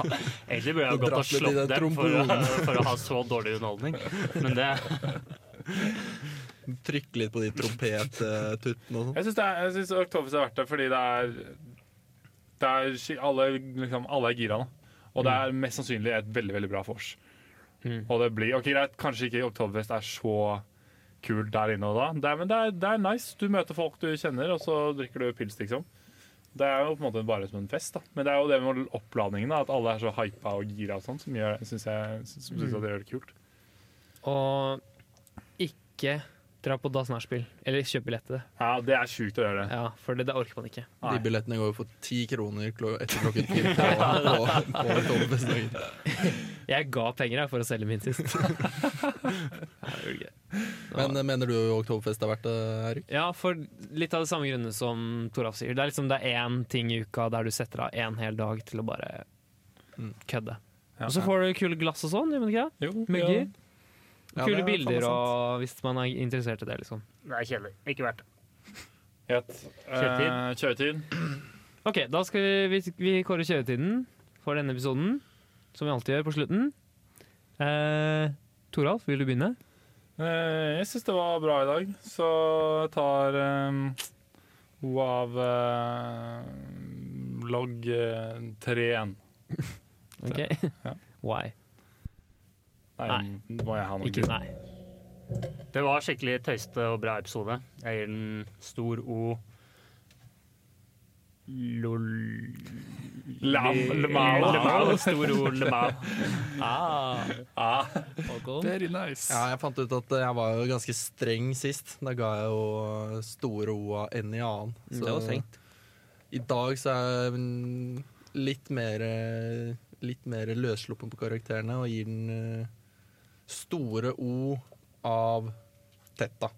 Speaker 3: Egentlig burde jeg
Speaker 4: Du
Speaker 3: gått og
Speaker 4: dratt litt i
Speaker 3: slått
Speaker 4: den
Speaker 3: dem for å,
Speaker 4: trombonen.
Speaker 3: for å ha så dårlig underholdning. Men det
Speaker 4: Trykke litt på de trompettuttene og sånn.
Speaker 2: Jeg syns det er- jeg synes Oktoberfest er verdt det, fordi det er, det er skik- alle, liksom, alle er gira nå. Og det er mest sannsynlig et veldig veldig bra vors.
Speaker 1: Mm.
Speaker 2: Og det blir ok greit, kanskje ikke Oktoberfest er så kult der inne og da, det er, men det er, det er nice. Du møter folk du kjenner, og så drikker du pils, liksom. Det er jo på en måte bare som en fest, da. men det er jo det med oppladningen, da, at alle er så hypa og gira og sånn, som gjør synes jeg, som synes at det gjør det kult.
Speaker 1: Og ikke dra på Das Nachspiel, eller kjøp billett til det.
Speaker 2: Ja, Det er sjukt å gjøre det.
Speaker 1: Ja, for det, det orker man ikke.
Speaker 4: De billettene går jo for ti kroner klo etter klokken ti på, på, på Oktoberfestdagen.
Speaker 1: Jeg ga penger jeg, for å selge min sist. Nei, det gjorde jeg ikke.
Speaker 4: Men eh, mener du Oktoberfest eh, er verdt det, Erik?
Speaker 1: ja, for litt av de samme grunnene som Toralf sier. Det
Speaker 4: Mm.
Speaker 1: er liksom det er én ting i uka der du setter av en hel dag til å bare kødde.
Speaker 2: Ja.
Speaker 1: Og så får du kule glass og sånn, gjør man ikke det?
Speaker 2: Jo,
Speaker 1: Mugger.
Speaker 2: ja.
Speaker 4: Ja, det
Speaker 1: kule
Speaker 4: er faen meg
Speaker 1: bilder
Speaker 4: sant.
Speaker 1: og hvis man er interessert i det, liksom.
Speaker 3: Det er kjedelig. Ikke verdt det.
Speaker 2: Greit. Eh, Kjøretid.
Speaker 1: Ok, da skal vi, vi, vi kåre kjøretiden for denne episoden, som vi alltid gjør på slutten. Eh, Toralf, vil du begynne?
Speaker 2: Eh, Jeg syns det var bra i dag, så jeg tar um, O av eh, logg eh, 3-1.
Speaker 1: Ok.
Speaker 2: Ja.
Speaker 1: Why?
Speaker 2: Nei,
Speaker 1: Nei.
Speaker 2: må jeg ha noe
Speaker 1: Ikke
Speaker 2: gøy.
Speaker 1: nei.
Speaker 3: Det var skikkelig tøyste og bra episode. Jeg gir den stor O. Lol...
Speaker 2: Lam,
Speaker 3: Lemau.
Speaker 2: lemau.
Speaker 3: Stor O Lemau.
Speaker 1: Ah,
Speaker 2: Ah,
Speaker 1: welcome.
Speaker 2: very nice.
Speaker 4: Ja, jeg fant ut at jeg var jo ganske streng sist. Da ga jeg jo store O av en i annen. Så
Speaker 1: Mm, Det var strengt.
Speaker 4: I dag så er jeg mm, litt mer eh, Litt mer løssluppen på karakterene og gir den eh, store O av Tetta.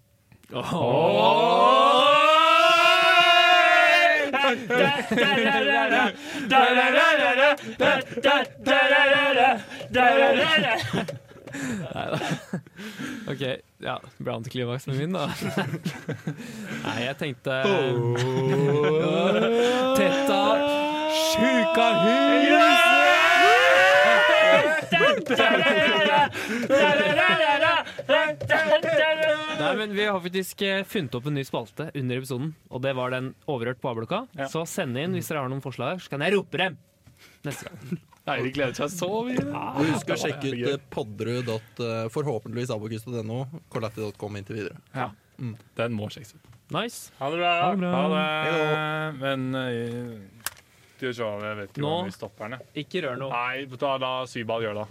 Speaker 1: Ok, ja, bra antiklimaksen min da. Nei, jeg tenkte... Oh. Tetta, Nei, men Vi har faktisk eh, funnet opp en ny spalte under episoden. Og det var den overhørt på A-blokka.
Speaker 2: Ja.
Speaker 1: Så send inn hvis dere har noen forslag, så kan jeg rope dem! Neste gang.
Speaker 2: Eirik gleder seg så mye.
Speaker 4: Og husk å sjekke ut
Speaker 2: jævlig gøy.
Speaker 4: eh, podderud. dot, eh, Forhåpentligvis abokus.no, colatti.com inntil videre.
Speaker 2: Ja. Den må sjekkes ut.
Speaker 1: Nice.
Speaker 3: Ha det bra.
Speaker 1: Ha det bra.
Speaker 2: Ha det. Men eh, Skal vi se, jeg vet ikke
Speaker 1: Nå.
Speaker 2: hvor vi stopper den. jeg.
Speaker 1: Ikke rør noe.
Speaker 2: Nei, da la Sybal gjøre det.